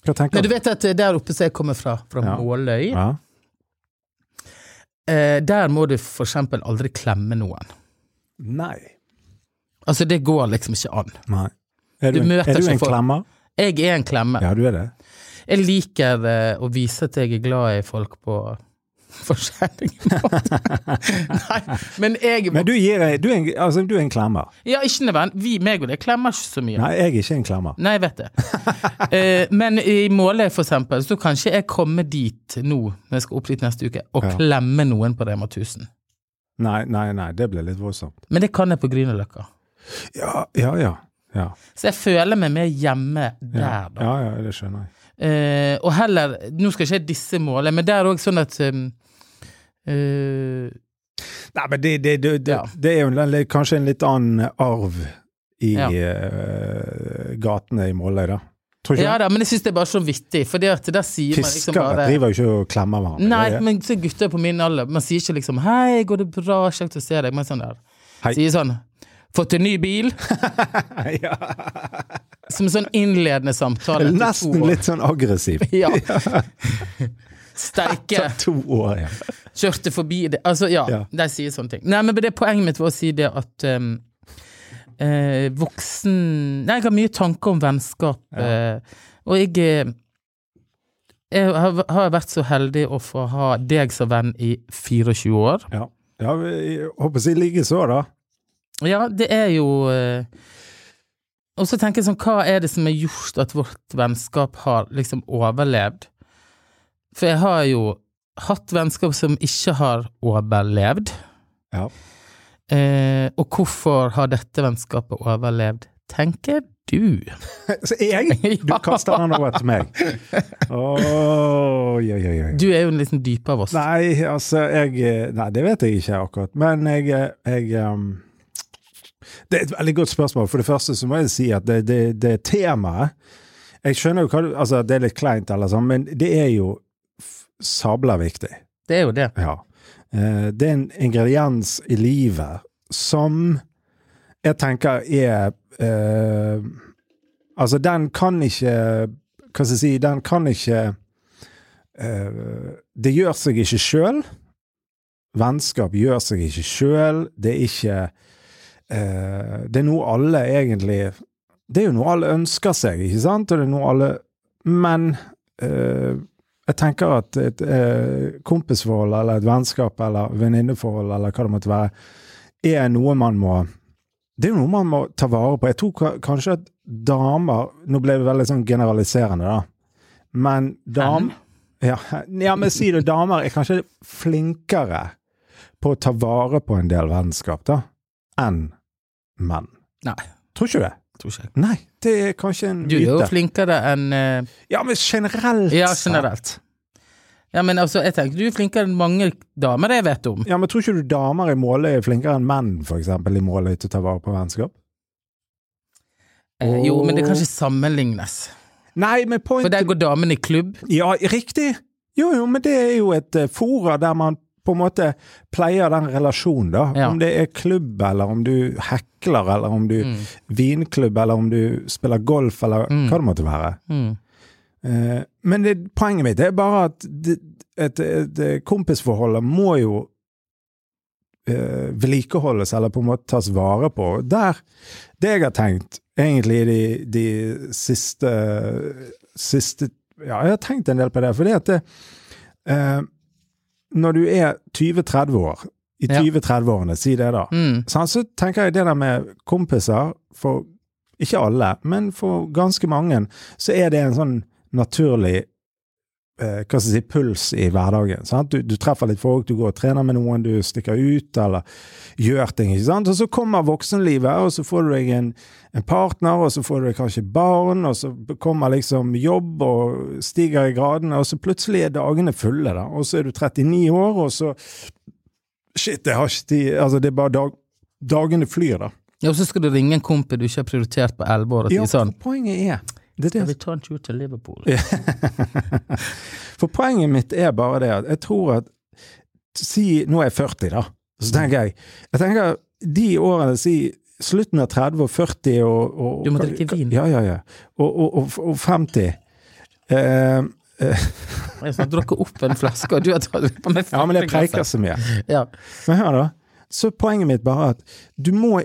Hva Nei, tenker du vet at eh, der oppe som jeg kommer fra, fra Ja. Måløy, Ja. eh, der må du for eksempel aldri klemme noen. Nei. Altså, det går liksom ikke an. Nei. Er Du du, en, møter er du ikke en folk. klemmer? Jeg er en klemme. Ja, du er det. Jeg liker eh, å vise at jeg er glad i folk på forskjellige måter. Nei, men jeg Men du, gir, du, er, en, altså, du er en klemmer. Ja, ikke nødvendig. Vi, meg og det, klemmer ikke så mye. Nei, Nei, jeg er ikke en klemmer. jeg vet det. Eh, men i Måløy, for eksempel, så kan ikke jeg komme dit nå, når jeg skal opp dit neste uke, og Ja. klemme noen på Rema 1000. Nei, nei, nei, det ble litt voldsomt. Men det kan jeg på Grünerløkka. Ja, ja, ja. Ja, Så jeg føler meg mer hjemme der, da. ja, ja det skjønner jeg. Eh, og heller Nå skal ikke jeg disse Måløy, men det er òg sånn at um, eh, Nei, men det, det, det, det, Ja. det er jo en, litt- kanskje en litt annen arv i Ja. eh, gatene i Måløy, da. Tror ikke Ja det? da, men jeg syns det er bare så vittig, for det at der sier man liksom Fiskere bare driver jo ikke og klemmer hverandre. Nei, Det er- men så gutter på min alder, man sier ikke liksom 'hei, går det bra, kjekt å se deg', men sånn der. Hei. Sier sånn 'fått en ny bil', ja. som en sånn innledende samtale etter to Nesten år. litt sånn aggressiv. Ja. Steike. To år, ja. Kjørte forbi det. Altså, ja. Ja. De sier sånne ting. Nei, men det poenget mitt var å si det at um, eh, voksen Nei, jeg har mye tanker om vennskap, eh, og jeg eh, jeg har, har vært så heldig å få ha deg som venn i 24 år. ja. ja vi- jeg håper å si likeså, da. Ja, det er jo eh, Og så tenker jeg sånn, hva er det som har gjort at vårt vennskap har liksom overlevd? For jeg har jo hatt vennskap som ikke har overlevd. Ja. Eh, og hvorfor har dette vennskapet overlevd, tenker du? Så jeg? Du kaster den over til meg. Oi, oi, oi. oi. Du er jo en liten dype av oss. Nei, altså jeg, Nei, det vet jeg ikke akkurat. Men jeg, jeg um, Det er et veldig godt spørsmål. For det første så må jeg si at det, det, det temaet Jeg skjønner jo hva du Altså, det er litt kleint, eller sånn, men det er jo f- sabla viktig. Det er jo det. Ja. Eh, Det er en ingrediens i livet som jeg tenker er eh, Altså, den kan ikke Hva skal jeg si Den kan ikke eh, Det gjør seg ikke sjøl. Vennskap gjør seg ikke sjøl. Det er ikke eh, Det er noe alle egentlig Det er jo noe alle ønsker seg, ikke sant? Og det er noe alle Men eh, jeg tenker at et eh, kompisforhold eller et vennskap eller venninneforhold eller hva det måtte være, er noe man må Det er jo noe man må ta vare på. Jeg tror ka- kanskje at damer Nå ble det veldig sånn generaliserende, da. Men dam... Ja, ja, men si det, damer er kanskje flinkere på å ta vare på en del vennskap, da, enn menn. Nei. Tror ikke du det? Tror ikke jeg. Nei, det er kanskje en Du er jo myte. flinkere enn eh, Ja, men generelt Ja, sett. generelt. Ja, men altså, jeg tenker du er flinkere enn mange damer jeg vet om. Ja, men tror ikke du damer i Måløy er flinkere enn menn, for eksempel, i Måløy til å ta vare på vennskap? Eh, jo, men det kan ikke sammenlignes. Nei, men For pointet der går damene i klubb. Ja, riktig! Jo, jo, men det er jo et eh, fora der man på en måte pleier den relasjonen, da. Ja. Om det er klubb, eller om du hekler, eller om du Mm. vinklubb, eller om du spiller golf, eller Mm. hva det måtte være. Mm. Eh, Men det, poenget mitt er bare at det, et, et, et kompisforhold må jo eh, vedlikeholdes, eller på en måte tas vare på. Der, det jeg har tenkt egentlig de, de siste, siste Ja, jeg har tenkt en del på det, fordi at det, eh, når du er 20-30 år, i Ja. 20-30-årene, si det da, Mm. Sånn, så tenker jeg det der med kompiser, for ikke alle, men for ganske mange, så er det en sånn naturlig eh, hva skal jeg si, puls i hverdagen. Sant? Du, du treffer litt folk, du går og trener med noen, du stikker ut eller gjør ting. Ikke sant? Og så kommer voksenlivet, og så får du deg en, en partner, og så får du deg kanskje barn, og så kommer liksom jobb og stiger i gradene, og så plutselig er dagene fulle, da. Og så er du 39 år, og så Shit, jeg har ikke tid Altså, det er bare dag, dagene flyr, da. Ja, og så skal du ringe en kompis du ikke har prioritert på elleve år, og si sånn poenget er det er Skal det. vi ta en tur til Liverpool? For poenget mitt er bare det at jeg tror at Si nå er jeg 40, da. Så tenker jeg Jeg tenker de årene Si slutten av 30 og 40 og, og Du må drikke vin. Ja, ja, ja. Og, og, og, og 50. Eh, Jeg har drukket opp en flaske, og du har tatt på meg ja, men jeg flaskeglasset. preiker så mye. Ja. Men hør da, så er poenget mitt bare at du må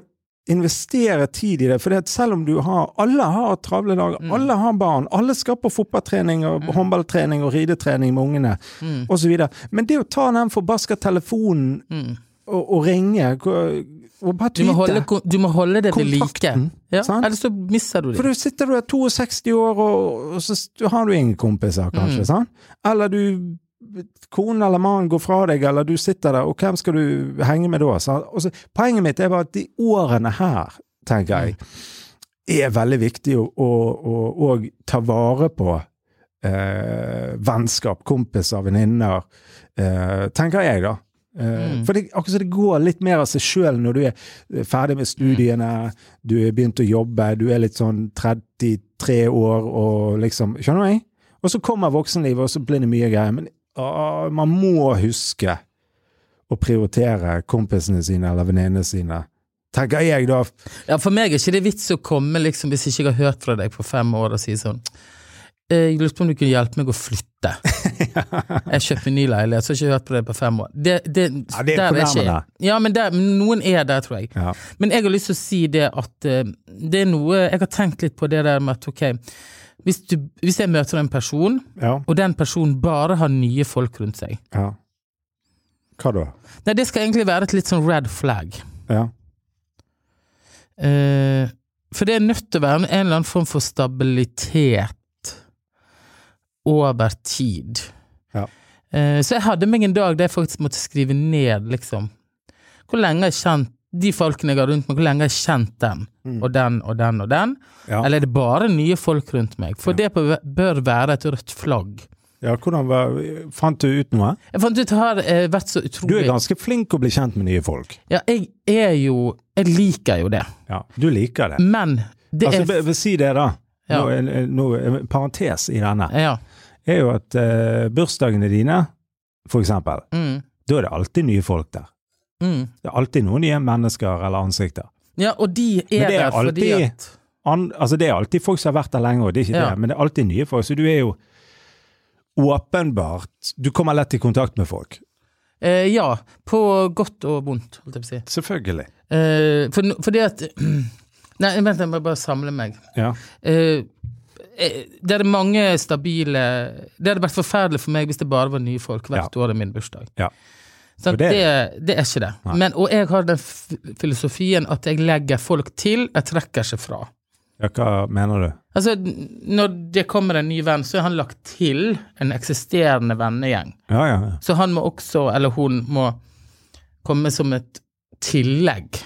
investere tid i det, for selv om du har Alle har travle dager, Mm. alle har barn, alle skal på fotballtrening og håndballtrening og ridetrening med ungene, Mm. og osv. Men det å ta den forbaska telefonen Mm. og, og ringe og, og bare Du, må holde, tyte kon- du må holde det ved like. Kontakten, Ja, sant? ellers så mister du det. for du sitter du er 62 år, og, og så s- har du ingen kompiser, Mm. kanskje. sant? Eller du Konen eller mannen går fra deg, eller du sitter der, og hvem skal du henge med da? sant? Og så, poenget mitt er bare at de årene her, tenker jeg, Mm. er veldig viktig å, å, å, å ta vare på. Eh, vennskap, kompiser, venninner, eh, tenker jeg, da. Eh, For det, akkurat så det går litt mer av seg sjøl når du er eh, ferdig med studiene, du er begynt å jobbe, du er litt sånn 33 år og liksom Skjønner du? meg? Og så kommer voksenlivet, og så blir det mye greier. Men å, man må huske å prioritere kompisene sine eller venninnene sine. Tenker jeg, da. Ja, for meg er ikke det vits å komme liksom, hvis ikke jeg har hørt fra deg på fem år og si sånn «Eh, Jeg lurte på om du kunne hjelpe meg å flytte. Jeg kjøper ny leilighet, så har jeg ikke hørt på deg på fem år. Det, det, Ja, det er der ikke jeg. fornærmende. Ja, men der, men noen er der, tror jeg. Ja. Men jeg har lyst til å si det at eh, det er noe Jeg har tenkt litt på det der med at ok, hvis, du, hvis jeg møter en person, Ja. og den personen bare har nye folk rundt seg ja. Hva da? Nei, det skal egentlig være et litt sånn red flag. Ja. Eh, for det er nødt til å være en eller annen form for stabilitet over tid. Ja. Eh, så jeg hadde meg en dag der jeg faktisk måtte skrive ned, liksom. Hvor lenge har jeg kjent de folkene jeg har rundt meg, hvor lenge har jeg kjent den, Mm. og den, og den, og den? Ja. Eller er det bare nye folk rundt meg? For det på- bør være et rødt flagg. ja, hvordan var Fant du ut noe? Jeg fant ut, har eh, vært så Du er utrolig ganske flink å bli kjent med nye folk. Ja, jeg er jo Jeg liker jo det, Ja. Du liker det. men det Altså, er be- be- si det, da. Ja. Nå, en- en- nå, en parentes i denne Ja. er jo at eh, bursdagene dine, for eksempel, Mm, da er det alltid nye folk der. mm. Det er alltid noen nye mennesker eller ansikter. Ja, og de er, Men det er der fordi alltid- at An, altså det er alltid folk som har vært der lenge, og det er ikke Ja. det, men det er alltid nye folk. Så du er jo åpenbart Du kommer lett i kontakt med folk. eh, Ja, på godt og vondt, holdt jeg på å si. Selvfølgelig. Eh, for, no- fordi at Nei, vent, jeg må bare samle meg. Ja. Eh, eh, det er mange stabile Det hadde vært forferdelig for meg hvis det bare var nye folk hvert år i min bursdag. Ja. Sant? Og det, det det, er er ikke det. Nei. Men, og jeg har den f filosofien at jeg legger folk til, jeg trekker ikke fra. ja, hva mener du? Altså, når det kommer en ny venn, så er han lagt til en eksisterende vennegjeng. Ja, ja. ja. Så han må også, eller hun, må komme som et tillegg.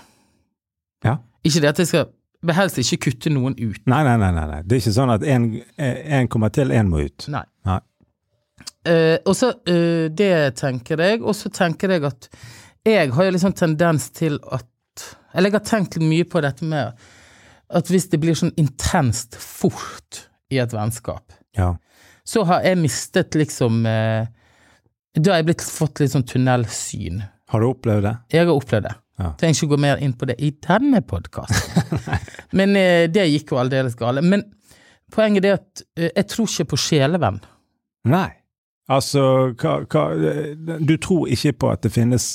Ja. Ikke det at jeg skal vil helst ikke kutte noen ut. Nei, nei, nei. nei, nei. Det er ikke sånn at én kommer til, én må ut. Nei. Nei. Eh, og så eh, Det tenker jeg. Og så tenker jeg at jeg har jo liksom tendens til at Eller jeg har tenkt mye på dette med at hvis det blir sånn intenst fort i et vennskap, Ja. så har jeg mistet liksom eh, Da har jeg blitt fått litt sånn tunnelsyn. Har du opplevd det? Jeg har opplevd det. Ja. Trenger ikke å gå mer inn på det i denne podkasten. Men eh, det gikk jo aldeles gale. Men poenget er at eh, jeg tror ikke på sjelevenn. Nei. Altså, hva, hva Du tror ikke på at det finnes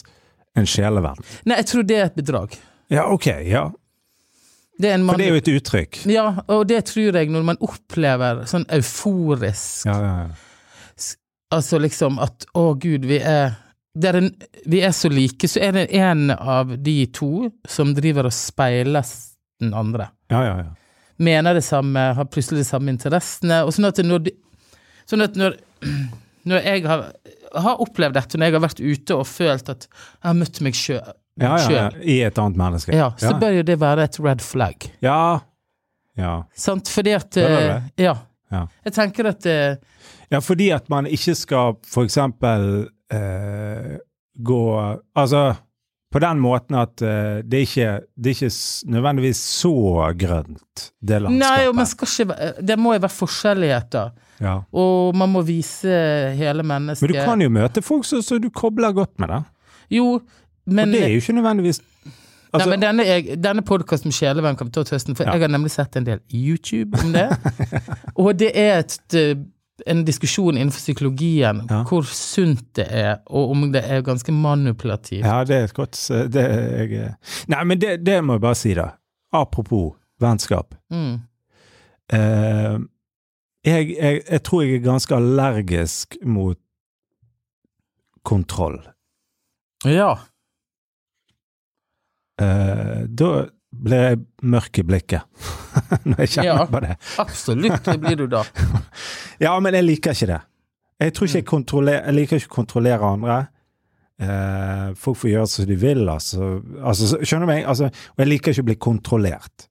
en sjelevenn? Nei, jeg tror det er et bedrag. Ja, ok. Ja. Det er en For det mann er jo et uttrykk. Ja, og det tror jeg når man opplever sånn euforisk Ja, ja, ja. Altså liksom at å gud, vi er det er en, Vi er så like, så er det en av de to som driver og speiler s- den andre. ja, ja, ja. Mener det samme, har plutselig de samme interessene. Og sånn at når, de, sånn at når, når jeg har, har opplevd dette, når jeg har vært ute og følt at jeg har møtt meg sjøl, ja, ja, ja. I et annet menneske. ja, så ja. bør jo det være et red flag. ja. ja. Sant? Fordi at Hører du eh, Ja. Ja. Jeg tenker at eh, Ja, fordi at man ikke skal for eksempel eh, gå Altså, på den måten at eh, det er ikke, det er ikke s- nødvendigvis så grønt, det landskapet. Nei, og man skal ikke, væ- det må jo være forskjelligheter, ja. og man må vise hele mennesket Men du kan jo møte folk som som du kobler godt med, da. Jo, men, Og det er jo ikke nødvendigvis altså, nei, men denne, jeg- denne podkasten med Sjelevenn kan vi ta til høsten, for Ja. jeg har nemlig sett en del YouTube om det. og det er et, eh, en diskusjon innenfor psykologien Ja. hvor sunt det er, og om det er ganske manipulativt. Ja, det er et godt s- det, er jeg, Nei, men det, det må jeg bare si, da. Apropos vennskap. Mm. Eh, jeg, jeg, jeg tror jeg er ganske allergisk mot kontroll. ja. Eh, da blir jeg mørk i blikket når jeg kjenner Ja. på det. Absolutt, det blir du da. Ja, men jeg liker ikke det. Jeg tror ikke jeg kontrollerer Jeg liker ikke å kontrollere andre. Eh, folk får gjøre som de vil, altså. altså så- skjønner du meg? Altså, og jeg liker ikke å bli kontrollert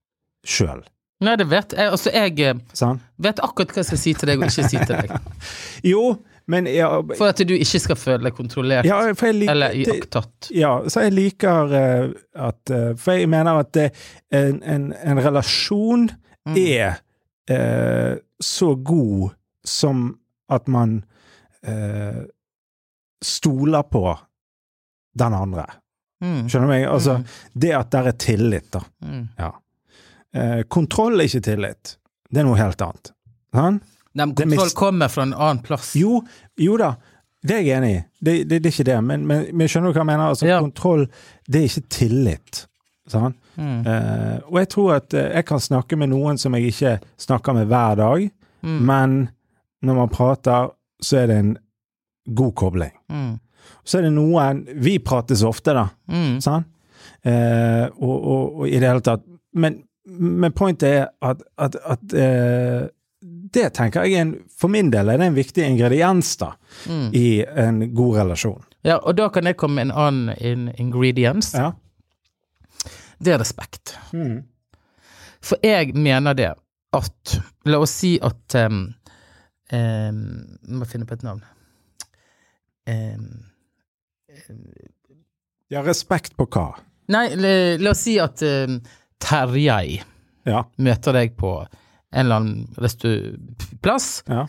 sjøl. Nei, det vet jeg. Altså, jeg eh, Sant? vet akkurat hva jeg skal si til deg og ikke si til deg. Jo, men ja, For at du ikke skal føle deg kontrollert ja for jeg liker eller det- iakttatt. Ja, så jeg liker eh, at eh, For jeg mener at det, en, en, en relasjon er eh, så god som at man eh, stoler på den andre. Mm. Skjønner du meg? Altså, det at der er tillit, da. Mm. Ja. Eh, kontroll er ikke tillit. Det er noe helt annet. Sant? Nei, men Det er kontroll mist- kommer fra en annen plass. Jo, jo da, det er jeg enig i. Det, det, det er ikke det, men, men, men skjønner du hva jeg mener? Altså, Ja. Kontroll, det er ikke tillit. Sant? Mm. Eh, og jeg tror at eh, jeg kan snakke med noen som jeg ikke snakker med hver dag, Mm. men når man prater, så er det en god kobling. Mm. Så er det noen Vi prates ofte, da. Mm. Sant? Eh, og, og, og i det hele tatt Men, men pointet er at, at, at eh, det tenker jeg er en, For min del er det en viktig ingrediens da, Mm. i en god relasjon. Ja, og da kan jeg komme med en annen in ingrediens. Ja. Det er respekt. Mm. For jeg mener det at La oss si at um, um, Må finne på et navn. Um, ja, respekt på hva? nei, la, la oss si at um, Terjei Ja. møter deg på en eller annen restu plass, ja.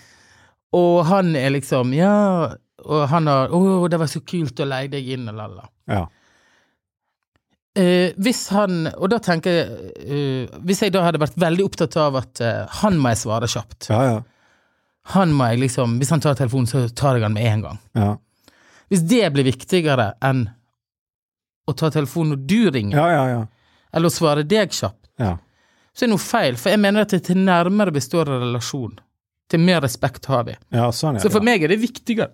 og han er liksom Ja, og han har Å, det var så kult å leie deg inn, og la, la. ja. Eh, hvis han Og da tenker jeg eh, Hvis jeg da hadde vært veldig opptatt av at eh, han må jeg svare kjapt Ja, ja. Han må jeg liksom Hvis han tar telefonen, så tar jeg han med en gang. Ja, Hvis det blir viktigere enn å ta telefonen når du ringer, ja, ja. ja. eller å svare deg kjapt, ja. så er det noe feil. For jeg mener at det til nærmere består av relasjon. Til mer respekt har vi. Ja, sånn er Så for det. meg er det viktigere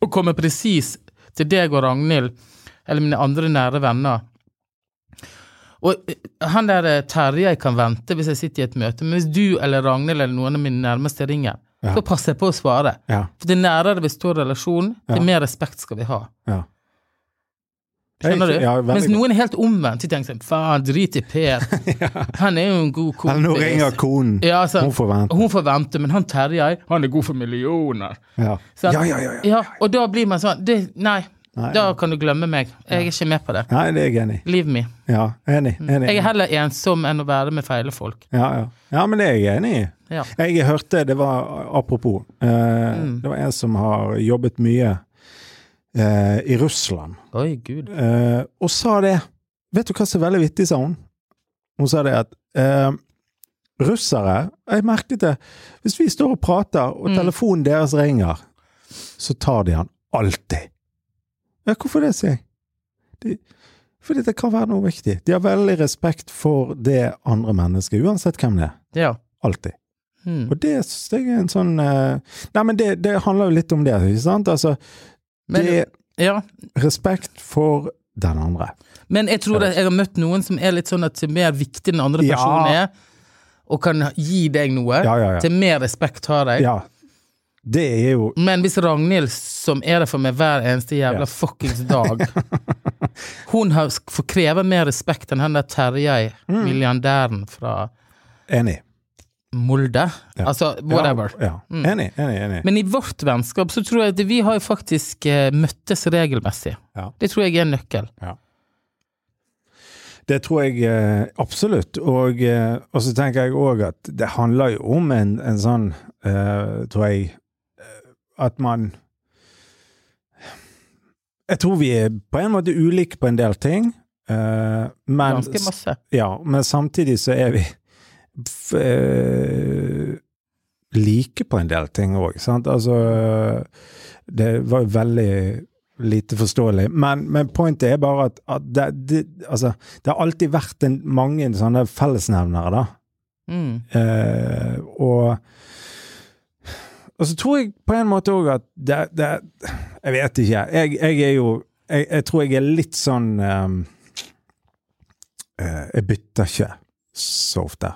å komme presis til deg og Ragnhild, eller mine andre nære venner. Og eh, han der eh, Terje jeg kan vente hvis jeg sitter i et møte, men hvis du eller Ragnhild eller noen av mine nærmeste ringer, Ja. så passer jeg på å svare. Ja, For det nærere vi står relasjonen, Ja. det mer respekt skal vi ha. ja. Skjønner du? Ja, veldig Mens godt. noen er helt omvendt. De tenker sånn Faen, drit i Per. Han er jo en god kompis. Eller nå ringer konen. ja, altså, Hun får vente. Hun får vente, men han Terjei, han er god for millioner. Ja. Sant? Ja, ja, ja, ja. Ja, og da blir man sånn det, Nei, Nei, da ja. kan du glemme meg. Jeg er ikke med på det. Nei, det er jeg enig i. Leave me. Ja, enig. enig. Mm. Jeg er heller ensom enn å være med feile folk. Ja, ja. ja, men det er jeg enig i. Ja. Jeg hørte, det var apropos, eh, det var en som har jobbet mye eh, i Russland, Oi, gud. eh, og sa det. Vet du hva som er veldig vittig, sa hun? Hun sa det at eh, russere, jeg merket det, hvis vi står og prater, og telefonen deres ringer, så tar de han alltid. Ja, hvorfor det, sier jeg? De, fordi det kan være noe viktig. De har veldig respekt for det andre mennesket, uansett hvem det er. Ja. Alltid. Hmm. Og det synes jeg er en sånn eh, Nei, men det, det handler jo litt om det, ikke sant? Altså, Men- det er ja. respekt for den andre. Men jeg tror at jeg har møtt noen som er litt sånn at til mer viktig enn andre Ja. personer er, og kan gi deg noe. Ja, ja, ja. Til mer respekt har jeg. Ja. Det er jo Men hvis Ragnhild, som er der for meg hver eneste jævla Ja. fuckings dag Hun har, får kreve mer respekt enn han der Terjei, Mm. milliardæren fra Enig. Molde. Altså, whatever. Mm. Ja, ja. Enig, enig, enig. Men i vårt vennskap så tror jeg at vi har jo faktisk eh, møttes regelmessig. Ja. Det tror jeg er en nøkkel. Det tror jeg eh, absolutt. Og, eh, og så tenker jeg òg at det handler jo om en, en sånn, eh, tror jeg, eh, at man Jeg tror vi er på en måte ulike på en del ting, eh, men Ganske masse. Ja, men samtidig så er vi f, eh, like på en del ting òg, sant. Altså Det var jo veldig lite forståelig. Men, men pointet er bare at, at det, det, altså, det har alltid vært en, mange sånne fellesnevnere, da. Mm. Eh, og, og så tror jeg på en måte òg at det, det Jeg vet ikke. Jeg, jeg er jo jeg, jeg tror jeg er litt sånn ehm, eh, Jeg bytter ikke så ofte.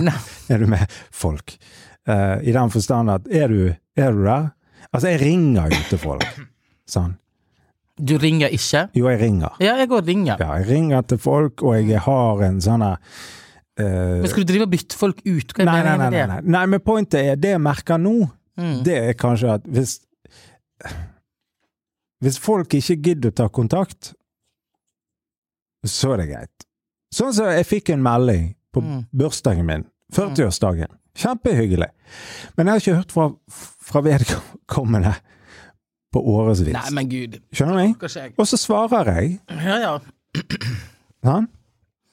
Nei. er du med folk? Eh, I den forstand at er du, er du der? Altså, jeg ringer jo til folk. Sånn. Du ringer ikke? Jo, jeg ringer. Ja, jeg går og ringer. Ja, jeg ringer til folk, og jeg har en sånn her eh, Men skal du drive og bytte folk ut? Hva er Nei, nei, nei, meningen nei, med det? Mm. nei. nei, men pointet er, det jeg merker nå, det er kanskje at hvis Hvis folk ikke gidder å ta kontakt, så er det greit. Sånn som jeg fikk en melding på Mm. bursdagen min, 40-årsdagen. Kjempehyggelig. Men jeg har ikke hørt fra, fra vedkommende på Nei, årevis. men gud. Skjønner du? meg? Kanskje jeg. Og så svarer jeg, Ja, ja. sant?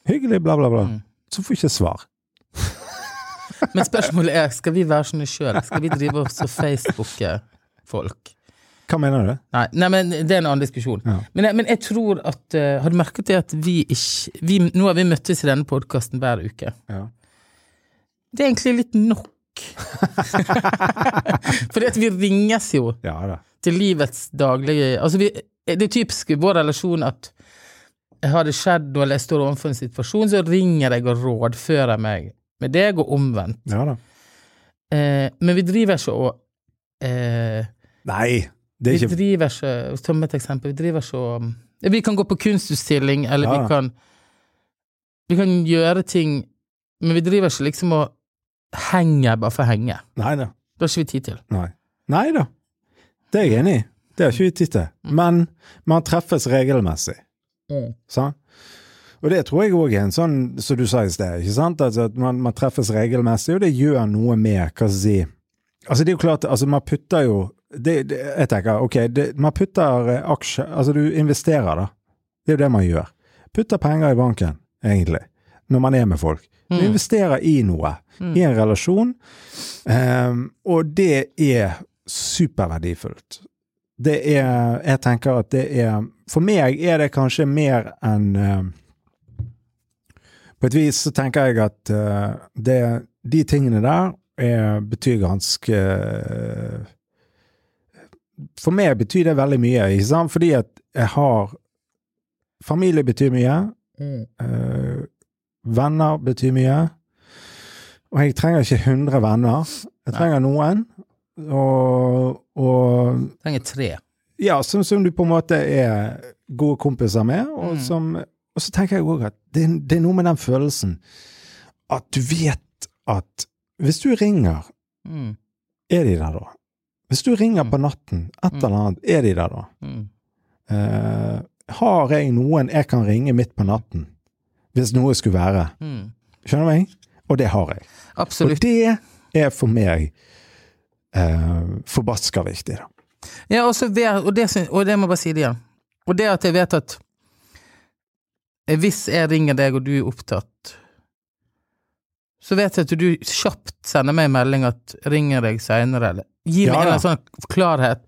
Hyggelig, bla, bla, bla. Mm. Så får jeg ikke svar. Men spørsmålet er, skal vi være sånne sjøl? Skal vi drive og så Facebooke folk? Hva mener du? Nei, nei, men det er en annen diskusjon. Ja. Men, jeg- men jeg tror at eh, Har du merket det at vi ikke vi, Nå har vi møttes i denne podkasten hver uke. Ja. Det er egentlig litt nok. Fordi at vi ringes jo Ja da. til livets daglige Altså, vi, det er typisk i vår relasjon at har det skjedd noe, eller jeg står overfor en situasjon, så ringer jeg og rådfører meg med deg, og omvendt. Ja, da. Eh, men vi driver ikke og eh, Nei, det Vi er ikke driver ikke Ta med et eksempel. Vi driver ikke og ja, Vi kan gå på kunstutstilling, eller Ja, vi ja. kan Vi kan gjøre ting, men vi driver ikke liksom og henger bare for å henge. Nei da. Det har ikke vi tid til. Nei. Nei da. Det er jeg enig i. Det har ikke vi tid til. Men man treffes regelmessig. Sant? Og det tror jeg òg er en sånn, som du sa i sted, ikke sant? Altså at man, man treffes regelmessig, og det gjør noe med hva skal jeg si Altså, det er jo klart, altså man putter jo det, det, Jeg tenker, ok, det, man putter eh, aksjer Altså, du investerer, da. Det er jo det man gjør. Putter penger i banken, egentlig, når man er med folk. Du investerer i noe, i en relasjon, ehm, og det er superverdifullt. Det er Jeg tenker at det er For meg er det kanskje mer enn ehm, På et vis så tenker jeg at eh, det, de tingene der er, betyr ganske eh, For meg betyr det veldig mye, ikke sant? Fordi at jeg har Familie betyr mye. Eh, venner betyr mye. Og jeg trenger ikke 100 venner. Jeg trenger noen. Og, og Trenger tre. ja, som, som du på en måte er gode kompiser med, Mm. og, som, og så tenker jeg òg at det, er- det er noe med den følelsen at du vet at hvis du ringer, Mm. er de der da? Hvis du ringer Mm. på natten, et eller annet, er de der da? Mm. Eh, har jeg noen jeg kan ringe midt på natten? Hvis noe skulle være. Mm. Skjønner du meg? Og det har jeg. Og Absolutt. det er for meg eh, forbaska viktig. Da. Ja, og, så vet, og, det, syn- og det må jeg bare si det igjen. Og det at jeg vet at hvis jeg ringer deg, og du er opptatt, så vet jeg at du kjapt sender meg en melding at ringer deg seinere, eller gir Ja, meg en ja. eller annen sånn klarhet.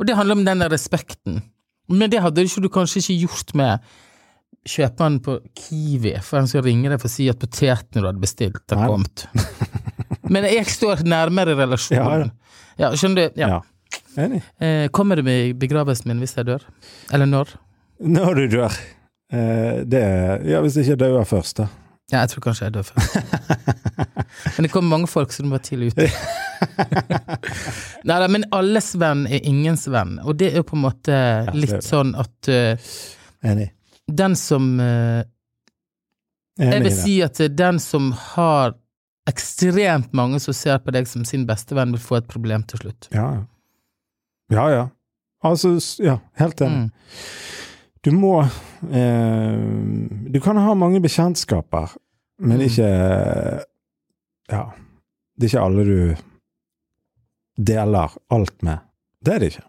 Og det handler om den der respekten. Men det hadde ikke du kanskje ikke gjort med kjøpmannen på Kiwi, for han skal ringe deg for å si at potetene du hadde bestilt, Nei. har kommet. Men jeg står nærmere relasjonen. Ja, skjønner du? Ja. Ja. Enig. Eh, kommer du med i begravelsen min hvis jeg dør? Eller når? Når du dør. Eh, det Ja, hvis ikke jeg dauer først, da. Ja, jeg tror kanskje jeg dør først. men det kommer mange folk, så du må være tidlig ute. Nei da, men alles venn er ingens venn, og det er jo på en måte det er litt det. sånn at eh, Enig. den som eh, Enig Jeg i vil det. si at eh, den som har ekstremt mange som ser på deg som sin bestevenn, vil få et problem til slutt. Ja, ja. Ja, ja. Altså, s- ja, helt enig. Mm. Du må eh, Du kan ha mange bekjentskaper, men Mm. ikke Ja. Det er ikke alle du deler alt med. Det er det ikke.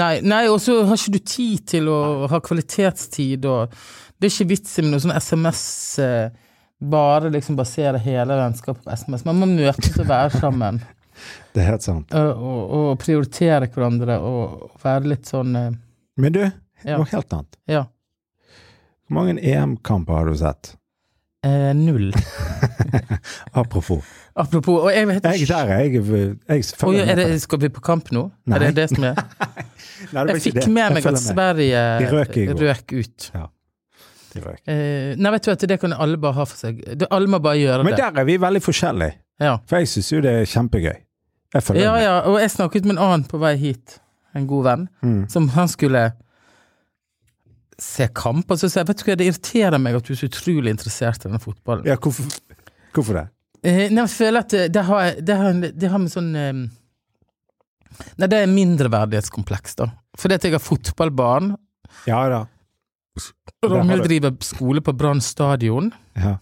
Nei, nei og så har ikke du tid til å ha kvalitetstid, og det er ikke vits i med noe sånn SMS eh, Bare liksom basere hele vennskapet på SMS. Man må møtes og være sammen, Det er helt sant. ø, og, og prioritere hverandre, og og være litt sånn eh, Men du, Ja. noe helt annet. Ja. Hvor mange EM-kamper har du sett? Eh, null. Apropos. Apropos, og jeg vet Jeg der, jeg, jeg, jeg Oi, følger er det, med på skal vi på kamp nå? Nei. Er det det som er? det. Nei, det var Jeg ikke fikk det. med Jeg meg følger at Sverige De røk i går. røk ut. De røk. Eh, nei, vet du at det kan alle bare ha for seg. Det, alle må bare gjøre Men det. der er vi veldig forskjellige, Ja. for jeg syns jo det er kjempegøy. Jeg følger Ja, med. ja, og jeg snakket med en annen på vei hit, en god venn, Mm. som han skulle se kamp, og så sa jeg, vet du hva, det irriterer meg at du er så utrolig interessert i denne fotballen. Ja, hvorfor, hvorfor det? Eh, nei, jeg føler at det, det, har, jeg- det, har, det har med sånn eh, Nei, det er mindreverdighetskompleks, da. Fordi at jeg har fotballbarn, Ja da. og Der har Ragnhild du- driver skole på Brann stadion, Ja,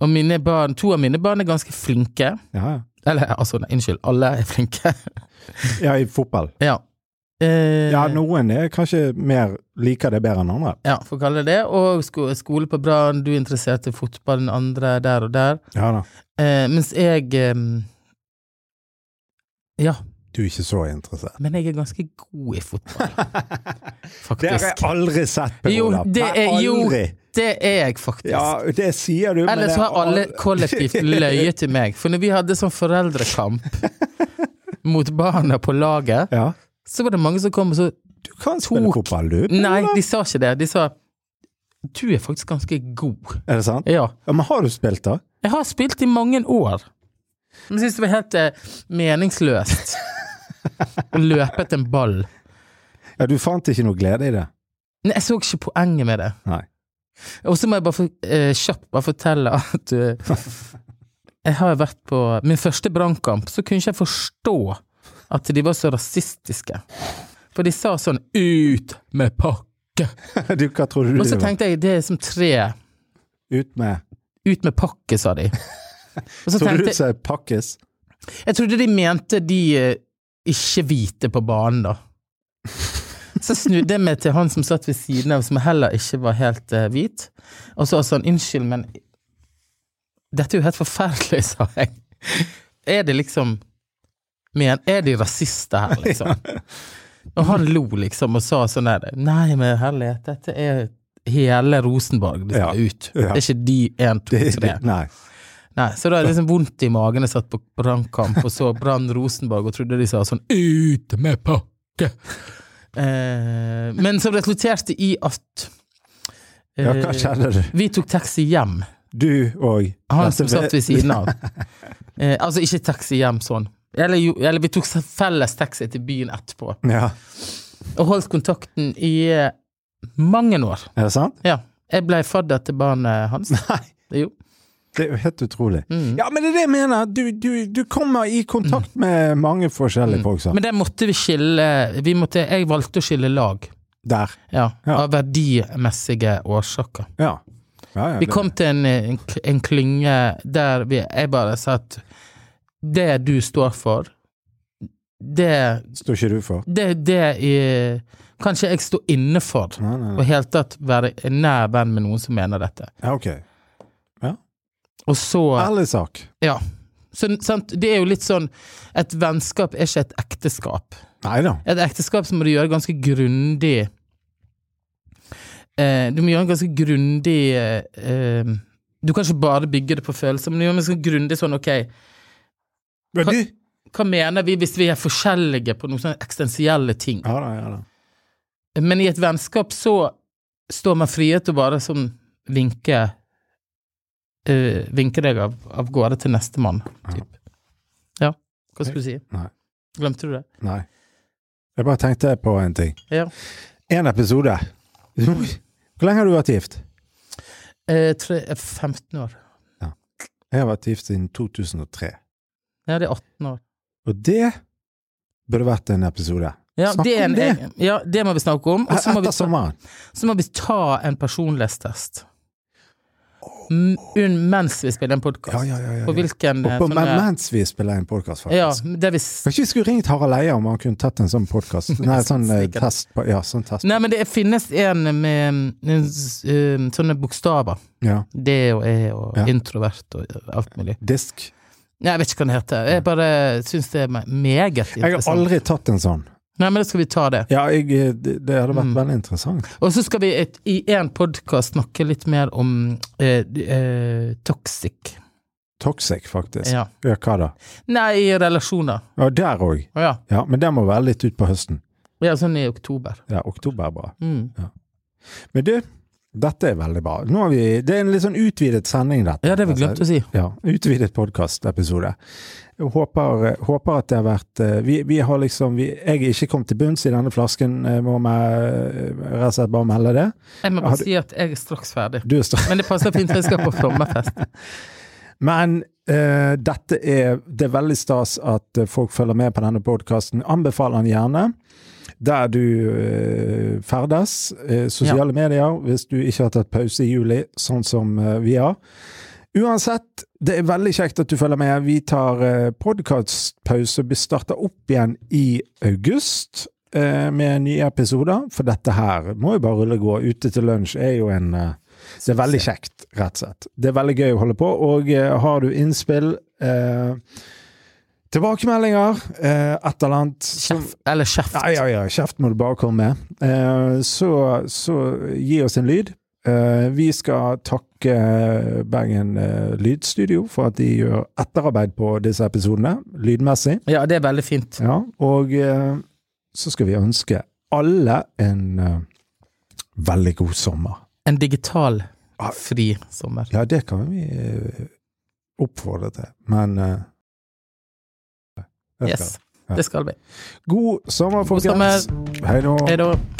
og mine barn, to av mine barn er ganske flinke. ja. ja. Eller, altså, nei, unnskyld, alle er flinke. ja i fotball. ja. Eh, Ja, noen er kanskje mer liker det bedre enn andre. Ja, får kalle det det. Og sko skole på Brann, du er interessert i fotball, den andre der og der. Ja da. Eh, mens jeg eh, Ja, Du er ikke så interessert. men jeg er ganske god i fotball, Det har jeg faktisk. aldri sett, Per Jo, Olav. det Nei, er jo- aldri. Det er jeg faktisk. Ja, det sier du, men Ellers det er har alle aldri- kollektivt løyet til meg. For når vi hadde sånn foreldrekamp mot barna på laget, Ja. så var det mange som kom og så Du kan spille Tok- Mm. fotball, du. Per Nei, Olav. de sa ikke det. De sa Du er faktisk ganske god. Er det sant? Ja. Ja, men har du spilt, da? Jeg har spilt i mange år. Men jeg syns det var helt eh, meningsløst å løpe etter en ball. Ja, du fant ikke noe glede i det? Nei, jeg så ikke poenget med det. Nei. Og så må jeg bare få, eh, kjapt bare fortelle at eh, jeg har vært på min første brannkamp, så kunne ikke jeg forstå at de var så rasistiske. For de sa sånn 'ut med pakke'. Du, hva tror du Og så det var? tenkte jeg det er som tre. Ut med Ut med pakke, sa de. Og så Tror du tenkte du sa pakkes? Jeg trodde de mente de eh, ikke-hvite på banen, da. Så snudde jeg meg til han som satt ved siden av, som heller ikke var helt eh, hvit. Og så sa han unnskyld, men dette er jo helt forferdelig, sa jeg. Er det liksom men, Er de rasister her, liksom? Og han lo liksom og sa sånn der Nei, men herlighet, dette er hele Rosenborg de skal Ja, ut. ja. Det er ikke de én, to, Det, tre. det, nei. Nei, så da er det liksom vondt i magen. Jeg satt på brannkamp og så Brann Rosenborg og trodde de sa sånn 'ut med pakke'. Eh, men som resulterte i at eh, Ja, hva skjedde du? Vi tok taxi hjem, Du og han Dette Ah, som satt ved siden av. Eh, altså ikke taxi hjem sånn. Eller, jo, eller vi tok felles taxi til byen etterpå. Ja. Og holdt kontakten i eh, mange år. Er det sant? Ja. Jeg ble fadder til barnet hans. Nei. Jo. Det er jo helt utrolig. Mm. Ja, men det er det jeg mener! Du, du, du kommer i kontakt med mange forskjellige folk. sant? Mm. Men der måtte vi skille vi måtte, Jeg valgte å skille lag, Der. ja, Ja. av verdimessige årsaker. Ja. ja, ja Vi det- kom til en, en, en klynge der vi, jeg bare sa at det du står for, det, står ikke du for. det, det i- kan ikke jeg stå inne for. Nei, nei, Og nei. i hele tatt være en nær venn med noen som mener dette. Ja, ok. Og så Ærlig sak. Ja. Så, sant? Det er jo litt sånn Et vennskap er ikke et ekteskap. Nei da. Et ekteskap så må du gjøre ganske grundig eh, Du må gjøre en ganske grundig eh, eh, Du kan ikke bare bygge det på følelser, men du gjør en ganske grundig sånn ok, Men du hva mener vi hvis vi er forskjellige på noen sånne eksistensielle ting? Ja da, ja da. Men i et vennskap så står man frihet til å bare som vinke eh, Vinke deg av, av gårde til nestemann, typ. Ja. Hva skulle du si? Nei. Glemte du det? Nei. Jeg bare tenkte på en ting. Ja. Én episode. Hvor lenge har du vært gift? Eh, tre, eh, 15 år. Jeg har vært gift siden 2003. Ja, det er 18 år. Og det burde vært en episode. Ja, Snakk det er en, om det. egen- Ja, det må vi snakke om. Og så må, vi Etter ta- sommeren. så må vi ta en personlighetstest. M- un- Mens vi spiller en Ja, podkast. ja, ja. ja, På ja. hvilken Og eh, på, men, sånne- mens vi spiller en podkast, Ja, faktisk. det vi s- Kanskje vi skulle ringt Harald Eia om han kunne tatt en sånn podkast? Nei, sånn eh, Sikkert. test. På, ja, sånn test. Nei, men det finnes en med mm, s- eh, sånne bokstaver. Ja. Det og jeg og Ja. introvert og eh, alt mulig. Disk. Nei, jeg vet ikke hva den heter. Jeg bare syns det er me- meget Jeg har interessant. aldri tatt en sånn. Nei, men da skal vi ta det. Ja, jeg, eh, det, det hadde vært Mm. veldig interessant. Og så skal vi et, i en podkast snakke litt mer om eh, eh, toxic. Toxic, faktisk. Ja, Ja. hva da? Nei, i relasjoner. Ja, der òg. Å ja. Ja, men den må være litt ut på høsten. ja. Sånn i oktober. Ja, oktober er bra. Mm. Men du, dette er veldig bra. Nå har vi, det er en litt sånn utvidet sending, dette. Ja, det har vi glemt å si. Ja, utvidet podkastepisode. Jeg Håper, eh, håper at det har vært eh, Vi, vi har liksom vi, Jeg er ikke kommet til bunns i denne flasken, eh, må jeg rett og slett bare melde det. Jeg må Har bare du- si at jeg er straks ferdig. Du er stra- Men det passer fint, for jeg skal på sommerfest. Men eh, dette er, det er veldig stas at eh, folk følger med på denne podkasten. Anbefaler den gjerne. Der du eh, ferdes. Eh, sosiale medier, hvis du ikke har tatt pause i juli, sånn som eh, vi har. Uansett, det er veldig kjekt at du følger med. Vi tar eh, podkastpause. Vi starter opp igjen i august eh, med nye episoder. For dette her må jo bare rulle og gå. Ute til lunsj er jo en eh, Det er veldig kjekt, rett og slett. Det er veldig gøy å holde på. Og eh, har du innspill eh, Tilbakemeldinger, eh, et eller annet som- Kjeft. Eller kjeft. ja, ja, ja. Kjeft må du bare komme med. Eh, så, så gi oss en lyd. Eh, vi skal takke Bergen eh, Lydstudio for at de gjør etterarbeid på disse episodene, lydmessig. Ja, det er veldig fint. Ja, og eh, så skal vi ønske alle en eh, veldig god sommer. En digital fri sommer. Ja, det kan vi eh, oppfordre til, men eh, det skal Yes. vi. Ja. Det skal vi. God sommer, God folkens. sommer. Hei nå. Hei da.